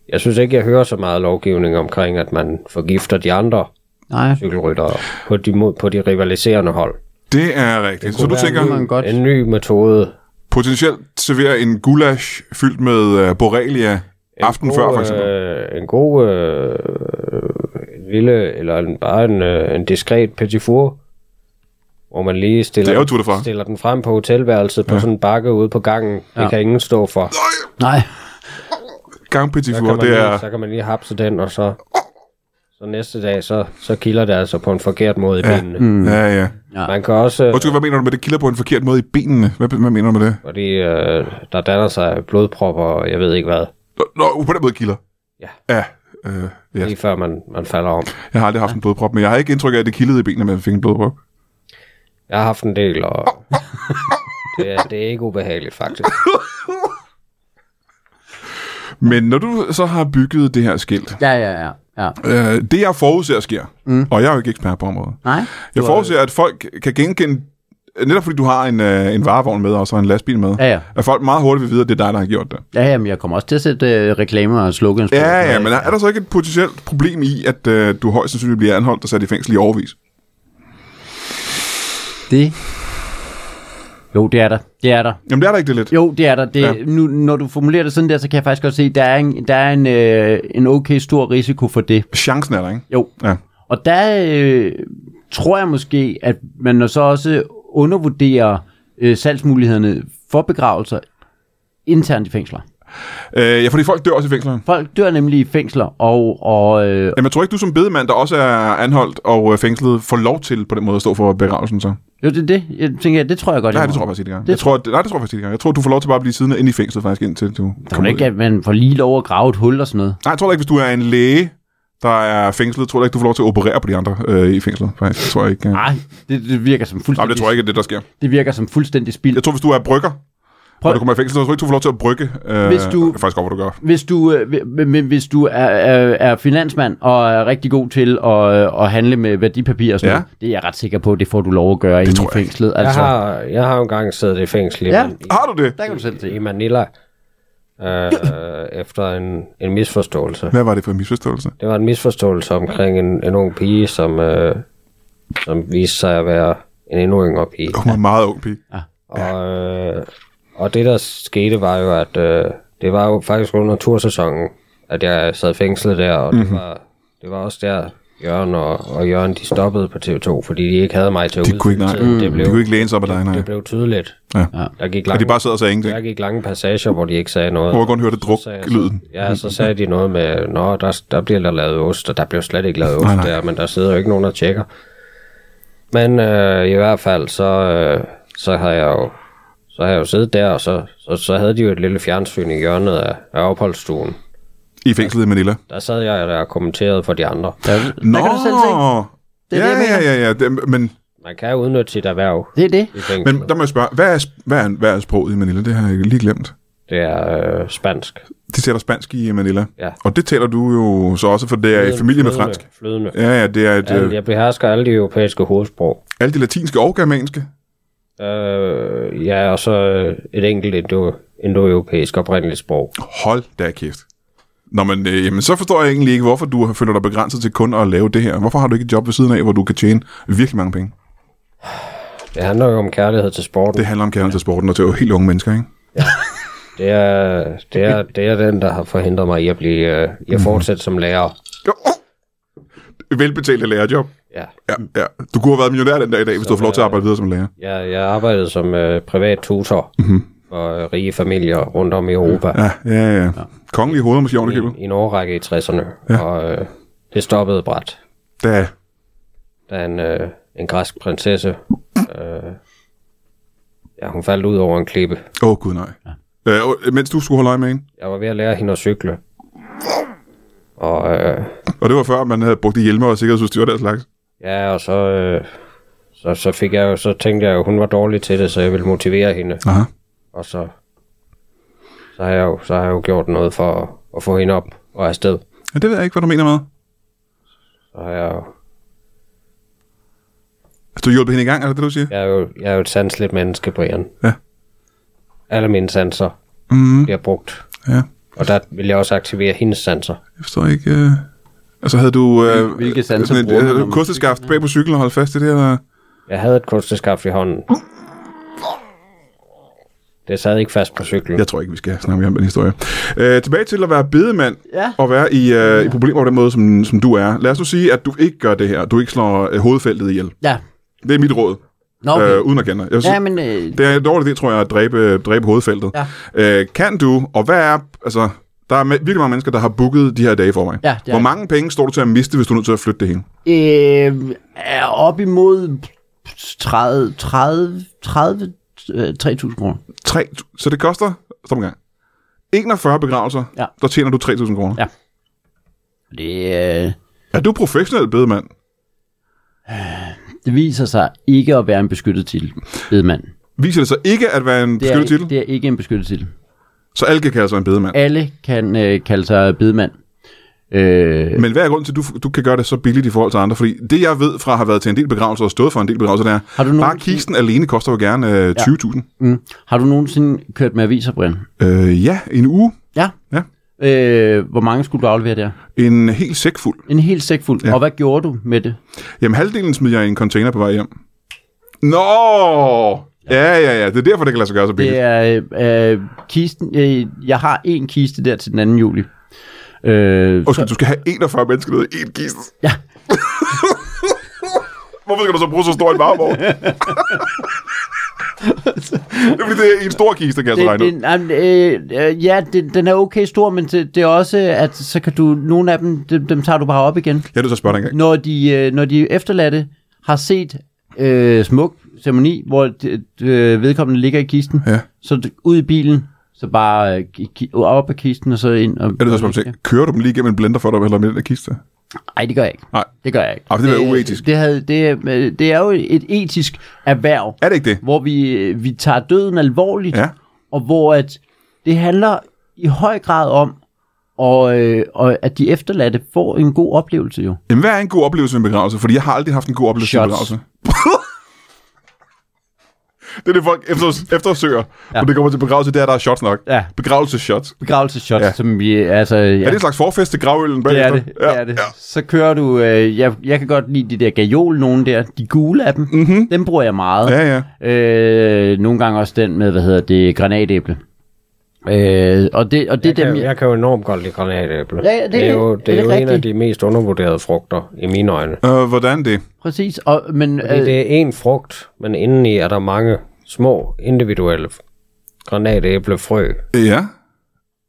Speaker 3: jeg synes ikke, jeg hører så meget lovgivning omkring, at man forgifter de andre
Speaker 2: Nej,
Speaker 3: cykelryttere på de, mod- på de rivaliserende hold.
Speaker 1: Det er rigtigt. Så du
Speaker 3: være
Speaker 1: tænker,
Speaker 2: det man godt.
Speaker 3: En ny metode.
Speaker 1: potentielt servere en goulash fyldt med uh, borrelia aften før, for eksempel.
Speaker 3: Øh, en god øh, en lille, eller en, bare en, øh, en diskret petit four, hvor man lige stiller,
Speaker 1: Det er jo Tour de France.
Speaker 3: stiller den frem på hotelværelset på sådan en bakke ude på gangen. Ja.
Speaker 2: Ja.
Speaker 3: Det kan ingen stå for.
Speaker 2: Nej,
Speaker 1: Gang petit
Speaker 3: Så
Speaker 1: four,
Speaker 3: kan, man
Speaker 1: det
Speaker 3: lige,
Speaker 1: er...
Speaker 3: så kan man lige hapse den, og så, så næste dag, så, så kilder det altså på en forkert måde i
Speaker 1: Ja.
Speaker 3: benene. Mm.
Speaker 1: Ja, ja.
Speaker 3: Man kan også... øh,
Speaker 1: Undskyld, hvad mener du med det? Kilder på en forkert måde i benene. Hvad, hvad mener du med det?
Speaker 3: Fordi øh, der danner sig blodpropper, og jeg ved ikke hvad,
Speaker 1: Nå, Nå, på den måde kilder.
Speaker 3: Ja.
Speaker 1: Ja, øh, ja.
Speaker 3: lige før man, man falder om.
Speaker 1: Jeg har aldrig haft en blodprop, men jeg har ikke indtryk af, at det kildede i benene, med jeg fik en blodprop.
Speaker 3: Jeg har haft en del, og det er, det er ikke ubehageligt faktisk.
Speaker 1: Men når du så har bygget det her skilt,
Speaker 2: ja, ja, ja. ja.
Speaker 1: øh, det jeg forudser sker, mm. og jeg er jo ikke ekspert på området,
Speaker 2: Nej,
Speaker 1: jeg forudser, at folk kan genkende, netop fordi du har en, øh, en varevogn med, og så en lastbil med,
Speaker 2: Ja, ja.
Speaker 1: at folk meget hurtigt vil vide, at det er dig, der har gjort det.
Speaker 2: ja, ja, men jeg kommer også til at sætte øh, reklamer og slogans på.
Speaker 1: Ja, ja, men er, er der så ikke et potentielt problem i, at øh, du højst sandsynligt bliver anholdt og sat i fængsel i overvis?
Speaker 2: Det... Jo, det er der. Det er der.
Speaker 1: Jamen, det er der ikke det lidt.
Speaker 2: Jo, det er der. Det,
Speaker 1: Ja.
Speaker 2: ja. nu, når du formulerer det sådan der, så kan jeg faktisk godt se, at der er en, der er en, øh, en okay stor risiko for det.
Speaker 1: Chancen er der, ikke?
Speaker 2: Jo.
Speaker 1: Ja.
Speaker 2: Og der øh, tror jeg måske, at man så også undervurderer øh, salgsmulighederne for begravelser internt i fængsler.
Speaker 1: Øh, ja, fordi folk dør også i fængslerne.
Speaker 2: Folk dør nemlig i fængsler, og, og, øh,
Speaker 1: Jamen, jeg tror ikke, du som bedemand, der også er anholdt og øh, fængslet, får lov til på den måde at stå for begravelsen så.
Speaker 2: jo, det er det. Jeg tænker, det tror jeg godt,
Speaker 1: Nej,
Speaker 2: jeg
Speaker 1: det
Speaker 2: må.
Speaker 1: tror jeg faktisk ikke. engang. Jeg tror, at- nej, det tror jeg faktisk ikke. engang. Jeg tror, du får lov til bare at blive siddende inde i fængslet faktisk, indtil du
Speaker 2: Der er
Speaker 1: kommer
Speaker 2: jo
Speaker 1: ikke,
Speaker 2: ikke,
Speaker 1: ud.
Speaker 2: at man får lige lov at grave et hul og sådan noget.
Speaker 1: Nej, jeg tror da ikke, hvis du er en læge, der er fængslet, tror jeg da ikke, du får lov til at operere på de andre øh, i fængslet. Faktisk. Det tror jeg ikke. Øh.
Speaker 2: Nej, det, det, virker som
Speaker 1: Nej,
Speaker 2: fuldstændig,
Speaker 1: det tror jeg ikke, det er det, der sker.
Speaker 2: det virker som fuldstændig spild.
Speaker 1: Jeg tror, hvis du er brygger, Prøv. og
Speaker 2: Prøv-
Speaker 1: du kommer i fængsel, så tror jeg ikke, du får lov til at brygge. Øh,
Speaker 2: Hvis du-
Speaker 1: Jeg kan faktisk godt, hvad du gør.
Speaker 2: Hvis du, øh, hvi- men- men hvis du er, er, er finansmand og er rigtig god til at, øh, at handle med værdipapirer og sådan
Speaker 1: Ja.
Speaker 2: ja. noget, det er jeg ret sikker på, det får du lov at gøre inde i
Speaker 1: tror jeg ikke.
Speaker 2: fængslet.
Speaker 3: Jeg
Speaker 2: Altså,
Speaker 3: har, jeg har jo engang siddet i fængsel i,
Speaker 2: Ja.
Speaker 3: ja.
Speaker 1: Har du det?
Speaker 2: der kan du selv
Speaker 3: i
Speaker 2: se.
Speaker 3: Manila øh, efter en, en misforståelse.
Speaker 1: Hvad var det for en misforståelse?
Speaker 3: Det var en misforståelse omkring en, en ung pige, som, øh, som viste sig at være en endnu yngre pige.
Speaker 1: Hun var en meget ung pige.
Speaker 3: Og, øh, og det, der skete, var jo, at øh, det var jo faktisk under tursæsonen, at jeg sad fængslet der, og mm-hmm.
Speaker 1: Mhm.
Speaker 3: det, var, det var også der, Jørgen og, og Jørgen, de stoppede på TV2, fordi de ikke havde mig til at
Speaker 1: De kunne ikke, nej.
Speaker 3: udfylde tiden.
Speaker 1: Det
Speaker 3: Det
Speaker 1: de kunne
Speaker 3: blev,
Speaker 1: ikke læne sig op ad dig, nej.
Speaker 3: det blev tydeligt.
Speaker 1: Ja.
Speaker 3: Der gik,
Speaker 1: Og
Speaker 3: lange,
Speaker 1: de bare sad og sagde ingenting.
Speaker 3: der gik lange passager, hvor de ikke sagde noget.
Speaker 1: Hvor jeg kun hørte druk
Speaker 3: sagde
Speaker 1: lyden.
Speaker 3: Ja, så sagde de noget med, nå, der, der bliver der lavet ost, og der bliver slet ikke lavet ost
Speaker 1: Nej, nej.
Speaker 3: der, men der sidder jo ikke nogen, der tjekker. Men øh, i hvert fald, så, øh, så har jeg jo så har jeg jo siddet der, og så, så, så havde de jo et lille fjernsyn i hjørnet af, af opholdsstuen.
Speaker 1: I fængslet i Manila.
Speaker 3: Der sad jeg der og kommenterede for de andre.
Speaker 2: Der,
Speaker 1: Nå!
Speaker 2: der kan du selv se. Det
Speaker 1: ja,
Speaker 2: er det, jeg
Speaker 1: ja, ja, ja. Det, men,
Speaker 3: Man kan jo udnytte sit erhverv
Speaker 2: Det er det.
Speaker 3: i fængsel.
Speaker 1: men
Speaker 3: Men...
Speaker 1: der må jeg spørge, hvad er, sp- hvad, er, hvad er sproget i Manila? Det har jeg lige glemt.
Speaker 3: Det er øh, spansk.
Speaker 1: De taler spansk i Manila.
Speaker 3: Ja.
Speaker 1: Og det taler du jo så også, for det er i familie med
Speaker 3: Flydende,
Speaker 1: fransk.
Speaker 3: Flydende.
Speaker 1: Ja, ja, det er et,
Speaker 3: Ja.
Speaker 1: ja,
Speaker 3: Jeg behersker alle de europæiske hovedsprog.
Speaker 1: alle de latinske og germanske.
Speaker 3: Øh, ja, og så øh, et enkelt indo, indoeuropæisk oprindeligt sprog.
Speaker 1: Hold da kæft. Nå, men øh, jamen, så forstår jeg egentlig ikke, hvorfor du har- føler dig begrænset til kun at lave det her. Hvorfor har du ikke et job ved siden af, hvor du kan tjene virkelig mange penge?
Speaker 3: Det handler jo om kærlighed til sporten.
Speaker 1: Det handler om kærlighed til sporten og til helt unge mennesker, ikke?
Speaker 3: Det er, det er, det er den, der har forhindret mig i at, blive, øh,
Speaker 1: Mhm.
Speaker 3: i at fortsætte som lærer.
Speaker 1: Jo, oh! Velbetalte lærerjob.
Speaker 3: Ja.
Speaker 1: Ja, ja. Du kunne have været millionær den dag i dag, hvis du havde fået lov til at arbejde videre som lærer.
Speaker 3: Jeg, jeg arbejdede som øh, privat tutor for øh, rige familier rundt om i Europa
Speaker 1: Mhm. Ja, ja, ja. ja. Kongelige hoveder måske ovenikøbet.
Speaker 3: i en årrække i 60'erne. Og øh, det stoppede bræt,
Speaker 1: Da.
Speaker 3: da en, øh, en græsk prinsesse øh, Ja, hun faldt ud over en klippe.
Speaker 1: Åh, oh, gud nej. Ja. Øh, mens du skulle holde øje med hende.
Speaker 3: Jeg var ved at lære hende at cykle. Og øh,
Speaker 1: Og det var før, man havde brugt hjelme og sikkerhedsudstyr og den slags.
Speaker 3: ja, og så, øh, så, så, fik jeg, jo- så tænkte jeg jo, hun var dårlig til det, så jeg ville motivere hende.
Speaker 1: Aha.
Speaker 3: Og så, så, har, jeg jo, så har jeg jo gjort noget for at, at få hende op og afsted.
Speaker 1: Ja, det ved jeg ikke, hvad du mener med.
Speaker 3: Så har jeg jo,
Speaker 1: Altså, du hjulpet hende i gang, er det det, du siger?
Speaker 3: jeg er jo, jeg er jo et sandsligt menneske, Brian.
Speaker 1: Ja.
Speaker 3: Alle mine sanser
Speaker 1: Mm,
Speaker 3: bliver brugt.
Speaker 1: ja.
Speaker 3: Og der vil jeg også aktivere hendes sanser.
Speaker 1: Jeg forstår ikke... Øh... Altså, havde du... Øh,
Speaker 2: Hvilke sanser
Speaker 1: sådan et,
Speaker 2: bruger man, når
Speaker 1: øh,
Speaker 2: man
Speaker 1: kosteskaft bag på cyklen og holdt fast i det, eller...
Speaker 3: Jeg havde et kosteskaft i hånden. Det sad ikke fast på cyklen.
Speaker 1: Jeg tror ikke, vi skal snakke mere om den historie. Øh, tilbage til at være bedemand
Speaker 2: Ja.
Speaker 1: og være i, øh, i problemer på den måde, som, som du er. Lad os nu sige, at du ikke gør det her. Du ikke slår øh, hovedfeltet ihjel.
Speaker 2: Ja.
Speaker 1: Det er mit råd,
Speaker 2: Nå,
Speaker 1: okay.
Speaker 2: okay.
Speaker 1: øh, uden at kende dig. Jeg synes,
Speaker 2: ja, men øh,
Speaker 1: Det er en dårlig idé, tror jeg, at dræbe, dræbe hovedfeltet.
Speaker 2: Ja.
Speaker 1: Øh, kan du, og hvad er... Altså, der er me- virkelig mange mennesker, der har booket de her dage for mig.
Speaker 2: Ja, det er
Speaker 1: Hvor
Speaker 2: det.
Speaker 1: mange penge står du til at miste, hvis du er nødt til at flytte det hele?
Speaker 2: øh, er op imod 30, 30, 30 øh, 3.000 kroner.
Speaker 1: Tre, så det koster... Stop en gang. 41 begravelser,
Speaker 2: Ja.
Speaker 1: der tjener du 3.000 kroner.
Speaker 2: Ja. Det, øh,
Speaker 1: Er du professionel bedemand?
Speaker 2: det viser sig ikke at være en beskyttet titel, bedemand.
Speaker 1: Viser det så ikke at være en
Speaker 2: Det er,
Speaker 1: beskyttet titel?
Speaker 2: det er ikke en beskyttet titel.
Speaker 1: Så alle kan kalde sig en bedemand.
Speaker 2: Alle kan øh, kalde sig bedemand. Øh,
Speaker 1: Men hvad er grunden til, at du, du kan gøre det så billigt i forhold til andre? Fordi det, jeg ved fra at have været til en del begravelser og stået for en del begravelser, det er,
Speaker 2: Har du
Speaker 1: bare
Speaker 2: nogen-
Speaker 1: kisten alene koster jo gerne øh, 20.000.
Speaker 2: mm, har du nogensinde kørt med aviser, Brian?
Speaker 1: Ja. Øh, ja, en uge.
Speaker 2: Ja.
Speaker 1: Ja.
Speaker 2: Øh, hvor mange skulle du aflevere der?
Speaker 1: En hel sæk fuld.
Speaker 2: En hel sæk fuld. Ja. Og hvad gjorde du med det?
Speaker 1: Jamen, halvdelen smider jeg i en container på vej hjem. Nå! Ja, ja, ja. Det er derfor, det kan lade sig gøre så billigt.
Speaker 2: Det er øh, øh, kisten. Øh, jeg har en kiste der til den 2. juli. Øh,
Speaker 1: Undskyld, du skal have 41 mennesker nede i én kiste.
Speaker 2: Ja.
Speaker 1: Hvorfor skal du så bruge så stor en varevogn? det er fordi, det er en stor kiste, kan jeg så
Speaker 2: det,
Speaker 1: regne ud.
Speaker 2: det, jamen, øh, øh, ja, det, den er okay stor, men det, det er også, at så kan du, nogle af dem, dem, dem tager du bare op igen.
Speaker 1: Jeg er nødt til at spørge dig en gang.
Speaker 2: Når de, øh, når de efterladte har set øh, smuk ceremoni, hvor de, øh, vedkommende ligger i kisten,
Speaker 1: Ja.
Speaker 2: så d- ud i bilen, så bare øh, ki- ki- op af kisten og så ind. Og,
Speaker 1: Jeg er nødt til at spørge dig. Kører du dem lige igennem en blender for dig, eller med den der kiste?
Speaker 2: Nej, det gør jeg ikke.
Speaker 1: Nej.
Speaker 2: Det gør jeg ikke.
Speaker 1: Ej, Ah, for det ville være uetisk.
Speaker 2: Det, havde, det, øh, det er jo et etisk erhverv,
Speaker 1: Er det ikke det?
Speaker 2: hvor vi, øh, vi tager døden alvorligt,
Speaker 1: Ja.
Speaker 2: og hvor at det handler i høj grad om, og, øh, og at de efterladte får en god oplevelse jo.
Speaker 1: Jamen, hvad er en god oplevelse ved en begravelse? Fordi jeg har aldrig haft en god oplevelse ved en
Speaker 2: Shots.
Speaker 1: begravelse. det er det, folk efter, eftersøger, ja. når det kommer til begravelse, det er, at der er shots nok.
Speaker 2: Ja.
Speaker 1: Begravelseshots.
Speaker 2: Begravelseshot,
Speaker 1: Ja.
Speaker 2: ja. som vi, altså... Ja.
Speaker 1: Er det en slags forfest til gravølen
Speaker 2: det
Speaker 1: bagefter?
Speaker 2: er det, det er det. Så kører du, øh, jeg, jeg kan godt lide de der gajol nogen der, de gule af dem, mm-hmm. dem bruger jeg meget.
Speaker 1: Ja, ja.
Speaker 2: Øh, nogle gange også den med, hvad hedder det, granatæble. Øh, og det, og det er
Speaker 3: Jeg,
Speaker 2: dem,
Speaker 3: kan- jeg kan jo enormt godt lide granatæble.
Speaker 2: Ja, ja, det-
Speaker 3: er jo,
Speaker 2: det-
Speaker 3: det er
Speaker 2: det er
Speaker 3: jo en af
Speaker 2: rigtigt.
Speaker 3: de mest undervurderede frugter i mine øjne.
Speaker 1: Ja. Øh, hvordan det?
Speaker 2: Præcis, og, men
Speaker 3: Fordi
Speaker 2: øh,
Speaker 3: det er én frugt, men indeni er der mange små individuelle granatæblefrø.
Speaker 1: Ja.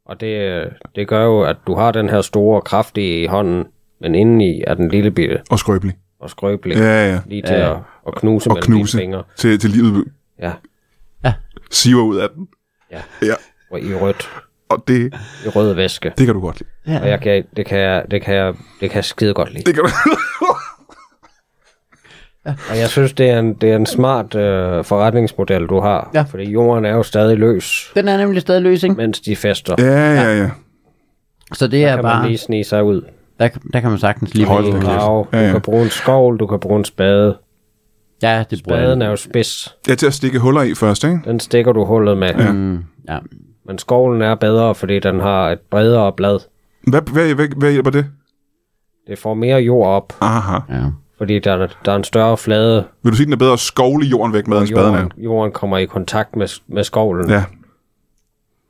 Speaker 3: Og det, øh, det gør jo, at du har den her store, kraftige i hånden, men indeni er den lille bitte
Speaker 1: Og skrøbelig.
Speaker 3: og skrøbelig.
Speaker 1: Ja, ja.
Speaker 3: Lige til ja. at, at knuse
Speaker 1: Og
Speaker 3: mellem
Speaker 1: knuse
Speaker 3: dine fingre.
Speaker 1: til, til livet
Speaker 3: Ja,
Speaker 1: siver ud af den.
Speaker 3: ja.
Speaker 1: Ja.
Speaker 3: Og i rødt.
Speaker 1: Og det,
Speaker 3: I rød væske.
Speaker 1: det kan du godt lide.
Speaker 3: Og jeg kan, det, kan jeg, det, kan jeg, det kan jeg skide godt lide.
Speaker 1: Det kan du.
Speaker 3: Og jeg synes, det er en, det er en smart øh, forretningsmodel, du har.
Speaker 2: Ja.
Speaker 3: Fordi jorden er jo stadig løs,
Speaker 2: den er nemlig stadig løs, ikke?
Speaker 3: mens de fester.
Speaker 1: ja, ja, ja.
Speaker 2: Så det er
Speaker 3: kan man
Speaker 2: bare,
Speaker 3: lige snige sig ud.
Speaker 2: der, kan- der kan man sagtens lige
Speaker 1: Hold
Speaker 2: vælge.
Speaker 1: da kæft.
Speaker 3: Grave.
Speaker 1: Ja,
Speaker 3: Ja,
Speaker 1: ja.
Speaker 3: Du kan bruge en skovl, du kan bruge en spade.
Speaker 2: Ja, det bruger
Speaker 3: Spaden
Speaker 2: jeg.
Speaker 3: er jo spids.
Speaker 1: Ja, til at stikke huller i først, ikke?
Speaker 3: Den stikker du hullet med. Ja.
Speaker 2: Mm, ja.
Speaker 3: Men skovlen er bedre, fordi den har et bredere blad.
Speaker 1: Hvad, hvad, hvad, hvad hjælper det?
Speaker 3: Det får mere jord op,
Speaker 1: Aha.
Speaker 2: ja.
Speaker 3: fordi der, er- der er en større flade.
Speaker 1: Vil du sige, den er bedre at skovle jorden væk med, end spaden er?
Speaker 3: Jorden, jorden kommer i kontakt med, med skovlen.
Speaker 1: Ja.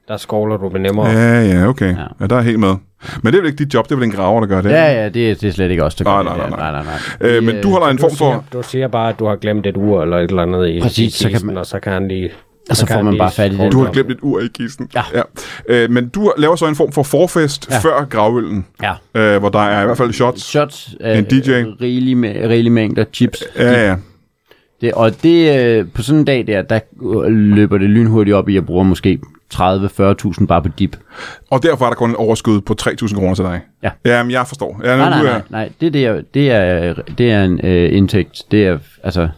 Speaker 3: Der skovler du med nemmere.
Speaker 1: Ja, ja, okay. Ja. ja, der er helt med. Men det er vel ikke dit job, det er vel en graver, der gør det?
Speaker 2: Ja, ja, det, er- det er slet ikke os, der
Speaker 1: Nej,
Speaker 2: gør
Speaker 1: nej,
Speaker 2: det.
Speaker 1: nej,
Speaker 2: der.
Speaker 1: nej.
Speaker 2: nej, nej.
Speaker 1: Øh, men du holder en form
Speaker 3: Du
Speaker 1: for...
Speaker 3: siger, du siger bare, at du har glemt et ur eller et eller andet i,
Speaker 2: Præcis,
Speaker 3: i
Speaker 2: så kan
Speaker 3: kisten,
Speaker 2: man-
Speaker 3: og så kan han lige...
Speaker 2: Og så
Speaker 3: kan
Speaker 2: får
Speaker 3: han
Speaker 2: man
Speaker 3: lige
Speaker 2: bare fat i
Speaker 3: skrue
Speaker 2: det.
Speaker 1: Du
Speaker 3: den
Speaker 1: har
Speaker 3: op.
Speaker 1: glemt et ur i kisten.
Speaker 2: Ja.
Speaker 1: ja. Øh, men du laver så en form for forfest ja. før gravøllen,
Speaker 2: Ja.
Speaker 1: øh, hvor der er i hvert fald shots.
Speaker 2: Shots, øh,
Speaker 1: En DJ.
Speaker 2: rigelige, mæ- rigelige mængder chips.
Speaker 1: Ja, ja.
Speaker 2: Det, og det, øh, på sådan en dag der, der øh, løber det lynhurtigt op i, at jeg bruger måske 30-40.000 bare på dip.
Speaker 1: Og derfor er der kun en overskud på 3.000 kroner til dig.
Speaker 2: Ja.
Speaker 1: Jamen, jeg forstår. Ja, nu,
Speaker 2: Nej, nej,
Speaker 1: er-
Speaker 2: nej, nej. Det, det, er, det, er, det er en øh, indtægt. Det er, altså,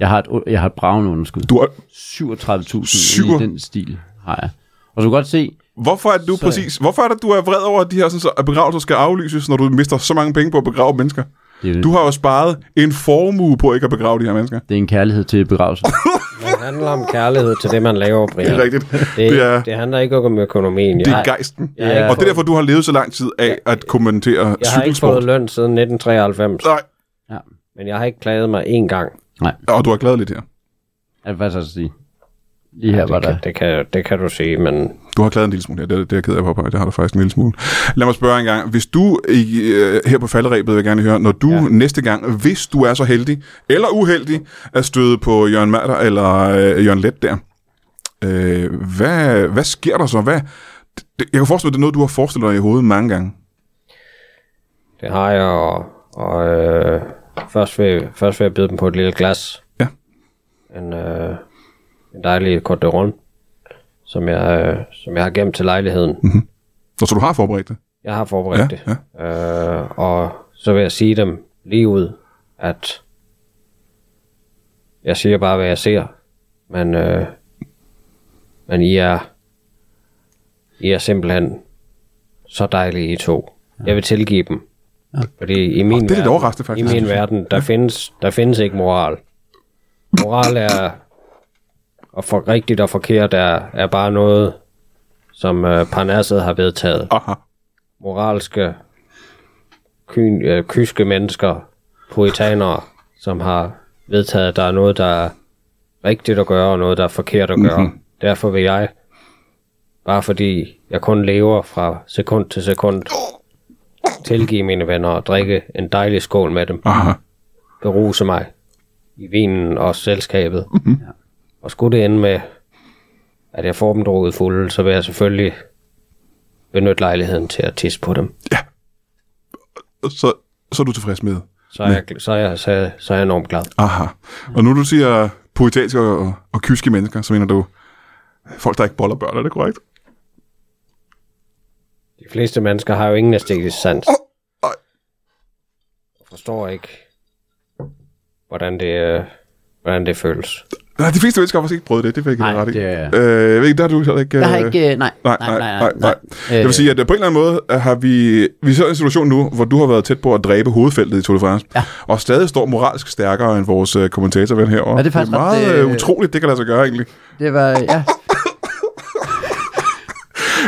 Speaker 2: jeg har et, u- jeg har et bragen underskud.
Speaker 1: Du er,
Speaker 2: 37.000
Speaker 1: Syver-
Speaker 2: i den stil har jeg. Og så kan du godt se,
Speaker 1: hvorfor er det du
Speaker 2: Så-
Speaker 1: præcis... Hvorfor er det, du er vred over, at de her sådan, så, at begravelser skal aflyses, når du mister så mange penge på at begrave mennesker?
Speaker 2: det
Speaker 3: Mm.
Speaker 2: er,
Speaker 1: Du har jo sparet en formue på ikke at begrave de her mennesker.
Speaker 2: det er en kærlighed til begravelse.
Speaker 3: Det handler om kærlighed til det, man laver, Brian.
Speaker 1: Det er rigtigt.
Speaker 3: Det,
Speaker 1: Det er,
Speaker 3: det handler ikke om økonomien. Jeg,
Speaker 1: det
Speaker 3: har-
Speaker 1: er gejsten.
Speaker 3: jeg har ikke
Speaker 1: Og det er
Speaker 3: fået-
Speaker 1: derfor, du har levet så lang tid af at kommentere
Speaker 3: jeg har ikke
Speaker 1: cykelsport.
Speaker 3: fået løn siden 1993,
Speaker 1: Nej,
Speaker 2: Ja,
Speaker 3: men jeg har ikke klaget mig én gang.
Speaker 1: og du har glædet lidt her.
Speaker 2: er det faktisk også at sige. Lige her var
Speaker 3: Det
Speaker 2: der.
Speaker 3: kan, det, kan, det kan du sige, men
Speaker 1: Du har klaret en lille smule her. Det, er- det er jeg ked af på, Det har du faktisk en lille smule. Lad mig spørge en gang. Hvis du i, øh, her på falderæbet, vil jeg gerne høre, når du ja. næste gang, hvis du er så heldig, eller uheldig, at støde på Jørgen Matter eller øh, Jørgen Let der, øh, hvad, hvad sker der så? Hvad, det, jeg kan forestille mig, det er noget, du har forestillet dig i hovedet mange gange.
Speaker 3: det har jeg, og, og øh, først, vil, først vil jeg byde dem på et lille glas.
Speaker 1: Ja.
Speaker 3: En, øh, en dejlig Côte de Rhône, som jeg, øh, som jeg har gemt til lejligheden.
Speaker 1: Og så du har forberedt det?
Speaker 3: Jeg har forberedt
Speaker 1: Ja,
Speaker 3: ja, det. Ja. Øh, og så vil jeg sige dem lige ud, at jeg siger bare, hvad jeg ser. Men, øh, men I er I er simpelthen så dejlige, I to. Jeg vil tilgive dem. Ja. Fordi i min,
Speaker 1: lidt
Speaker 3: verden,
Speaker 1: overraskende, faktisk.
Speaker 3: i min verden, der, ja. findes, der findes ikke moral. Moral er og for rigtigt og forkert er, er bare noget, som øh, Parnasset har vedtaget
Speaker 1: Aha.
Speaker 3: moralske, kyn, øh, kyske mennesker, poetanere, som har vedtaget, at der er noget, der er rigtigt at gøre, og noget, der er forkert at gøre. Mm-hmm. Derfor vil jeg, bare fordi jeg kun lever fra sekund til sekund, tilgive mine venner og drikke en dejlig skål med dem,
Speaker 1: Aha.
Speaker 3: beruse mig i vinen og selskabet. Mm-hmm. Og skulle det ende med, at jeg får dem droget fulde, så vil jeg selvfølgelig benytte lejligheden til at tisse på dem.
Speaker 1: Så, så er du tilfreds med.
Speaker 3: så er, jeg, så, er jeg, så, er jeg, så er jeg enormt glad.
Speaker 1: Aha. Og nu du siger poetiske og, og kyske mennesker, så mener du folk, der ikke boller børn, er det korrekt?
Speaker 3: De fleste mennesker har jo ingen æstetisk sans. Og forstår ikke, hvordan det, øh, hvordan det føles.
Speaker 1: Nej, de fleste mennesker har faktisk ikke prøvet det, det vil jeg give dig
Speaker 2: Nej,
Speaker 1: ret i.
Speaker 2: det er-
Speaker 1: Øh, jeg ved ikke, der har du heller ikke...
Speaker 2: Jeg har
Speaker 1: øh,
Speaker 2: ikke, øh, nej, Øh.
Speaker 1: Nej, nej, nej, nej, nej. Jeg vil sige, at på en eller anden måde øh, har vi... Vi sidder i en situation nu, hvor du har været tæt på at dræbe hovedfeltet i Tour de France, ja. og stadig står moralsk stærkere end vores øh, kommentatorven herovre.
Speaker 2: Ja, det er faktisk
Speaker 1: det er meget
Speaker 2: ret,
Speaker 1: øh,
Speaker 2: øh,
Speaker 1: utroligt, det kan lade sig gøre egentlig.
Speaker 2: Det var, ja,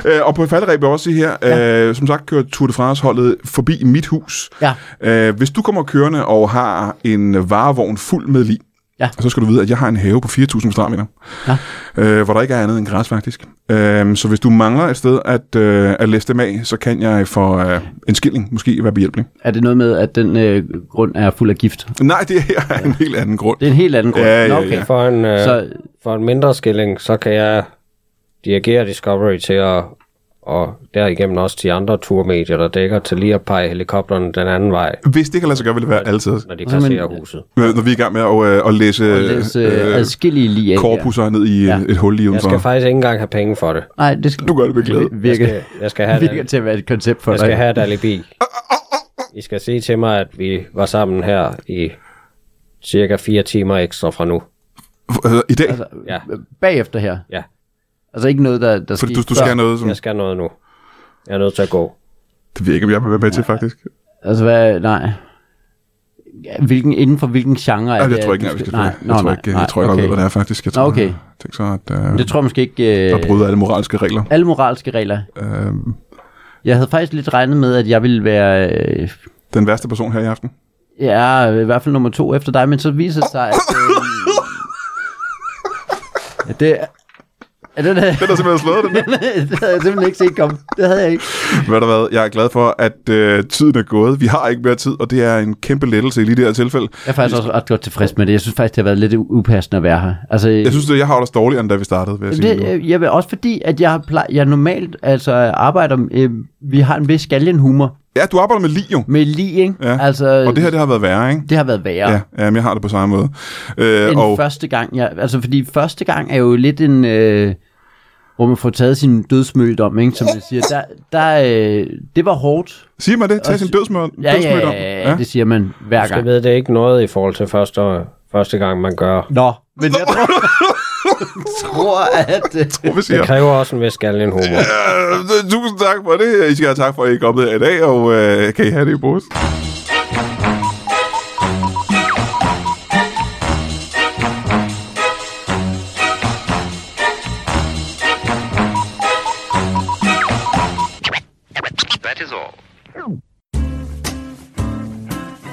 Speaker 1: Øh, og på falderæb vil jeg også sige her, ja. øh, som sagt kører Tour de France-holdet forbi mit hus.
Speaker 2: ja,
Speaker 1: Øh, hvis du kommer kørende og har en varevogn fuld med lig,
Speaker 2: Ja.
Speaker 1: så skal du vide, at jeg har en have på 4.000 kvadratmeter,
Speaker 2: Ja.
Speaker 1: øh, hvor der ikke er andet end græs faktisk. Øh, så hvis du mangler et sted at, øh, at læse dem af, så kan jeg for øh, en skilling måske være behjælpelig.
Speaker 2: er det noget med, at den øh, grund er fuld af gift?
Speaker 1: Nej, det her er en helt anden grund.
Speaker 2: Det er en helt anden grund.
Speaker 1: Ja,
Speaker 2: Nå,
Speaker 1: ja,
Speaker 2: okay.
Speaker 1: ja.
Speaker 3: For en, øh, så...
Speaker 2: Så
Speaker 3: for en mindre skilling, så kan jeg dirigere Discovery til at og derigennem også de andre turmedier, der dækker til lige at pege helikopteren den anden vej,
Speaker 1: Hvis det kan lade sig gøre, vil det være altid,
Speaker 3: når de
Speaker 2: Og så
Speaker 3: passerer
Speaker 2: man-
Speaker 3: huset.
Speaker 1: når vi er i gang med at, øh, at læse,
Speaker 2: og læse øh, adskillige lige af her.
Speaker 1: korpusser ned i ja.
Speaker 2: Ja.
Speaker 1: et hul lige
Speaker 3: Jeg
Speaker 1: udenfor.
Speaker 3: skal faktisk ikke engang have penge for det.
Speaker 2: Nej, det skal,
Speaker 1: Du gør det med glæde.
Speaker 2: vir-
Speaker 3: Jeg
Speaker 2: virker,
Speaker 3: skal, jeg skal have det.
Speaker 2: virker til at være et koncept for
Speaker 3: Jeg skal
Speaker 2: dig.
Speaker 3: have et alibi. I skal sige til mig, at vi var sammen her i cirka fire timer ekstra fra nu.
Speaker 1: Øh, I dag,
Speaker 2: Altså,
Speaker 3: Ja.
Speaker 2: Bagefter her.
Speaker 3: Ja,
Speaker 2: Altså ikke noget, der, der
Speaker 1: fordi du,
Speaker 2: skete
Speaker 1: du
Speaker 2: før.
Speaker 1: skal have noget, som,
Speaker 3: jeg skal noget nu. Jeg er nødt til at gå.
Speaker 1: det ved jeg ikke, om jeg vil være med til faktisk.
Speaker 2: Altså hvad, nej. Ja, Hvilken, inden for hvilken genre er
Speaker 1: Ja,
Speaker 2: det?
Speaker 1: det tror jeg ikke,
Speaker 2: at
Speaker 1: jeg
Speaker 2: du
Speaker 1: skal
Speaker 2: Nej,
Speaker 1: nej, jeg tror
Speaker 2: nej,
Speaker 1: ikke,
Speaker 2: nej,
Speaker 1: jeg tror ikke, jeg
Speaker 2: okay.
Speaker 1: ved, hvad det er faktisk. Jeg
Speaker 2: Nå,
Speaker 1: tror,
Speaker 2: okay.
Speaker 1: jeg tænker så, at øh,
Speaker 2: Det tror jeg måske ikke...
Speaker 1: der bryder alle moralske regler.
Speaker 2: alle moralske regler.
Speaker 1: Øh,
Speaker 2: Jeg havde faktisk lidt regnet med, at jeg ville være... Øh,
Speaker 1: den værste person her i aften.
Speaker 2: ja, i hvert fald nummer to efter dig, men så viser det sig, at... Øh, at det... At den, havde,
Speaker 1: Den er simpelthen slået, den.
Speaker 2: det havde jeg simpelthen ikke set komme. Det havde jeg ikke.
Speaker 1: Ved du hvad, jeg er glad for, at øh, tiden er gået. Vi har ikke mere tid, og det er en kæmpe lettelse i lige det her tilfælde.
Speaker 2: Jeg er faktisk også ret godt tilfreds med det. Jeg synes faktisk, det har været lidt u- upassende at være her. Altså,
Speaker 1: Jeg synes, at jeg har det dårligere, end da vi startede, vil jeg sige.
Speaker 2: det,
Speaker 1: nu.
Speaker 2: øh, jeg vil også fordi, at jeg, har plej, jeg normalt altså, arbejder... Øh, vi har en vis galgenhumor.
Speaker 1: Ja, du arbejder med lige jo.
Speaker 2: Med lige, ikke?
Speaker 1: Ja.
Speaker 2: Altså,
Speaker 1: Og det her, det har været værre, ikke?
Speaker 2: det har været værre.
Speaker 1: Ja, ja men jeg har det på samme måde. Øh,
Speaker 2: end
Speaker 1: og
Speaker 2: og... første gang. Ja, altså, fordi første gang er jo lidt en... Øh, hvor man får taget sin dødsmøldom, ikke, som jeg siger. Der, der, øh, det var hårdt.
Speaker 1: siger man det? Tag
Speaker 2: og-
Speaker 1: sin dødsmød.
Speaker 2: Ja, ja, ja, ja, ja, det siger man hver
Speaker 3: Jeg skal
Speaker 2: gang.
Speaker 3: ved det er ikke noget i forhold til første, første gang, man gør.
Speaker 2: Nå, men jeg tror, tror at... Øh,
Speaker 1: Hvorfor siger
Speaker 3: Det kræver også en vis galgen humor.
Speaker 1: Øh, tusind tak for det. I skal have tak for, at I er kommet her i dag, og øh, kan I have det i posen?
Speaker 4: That is all.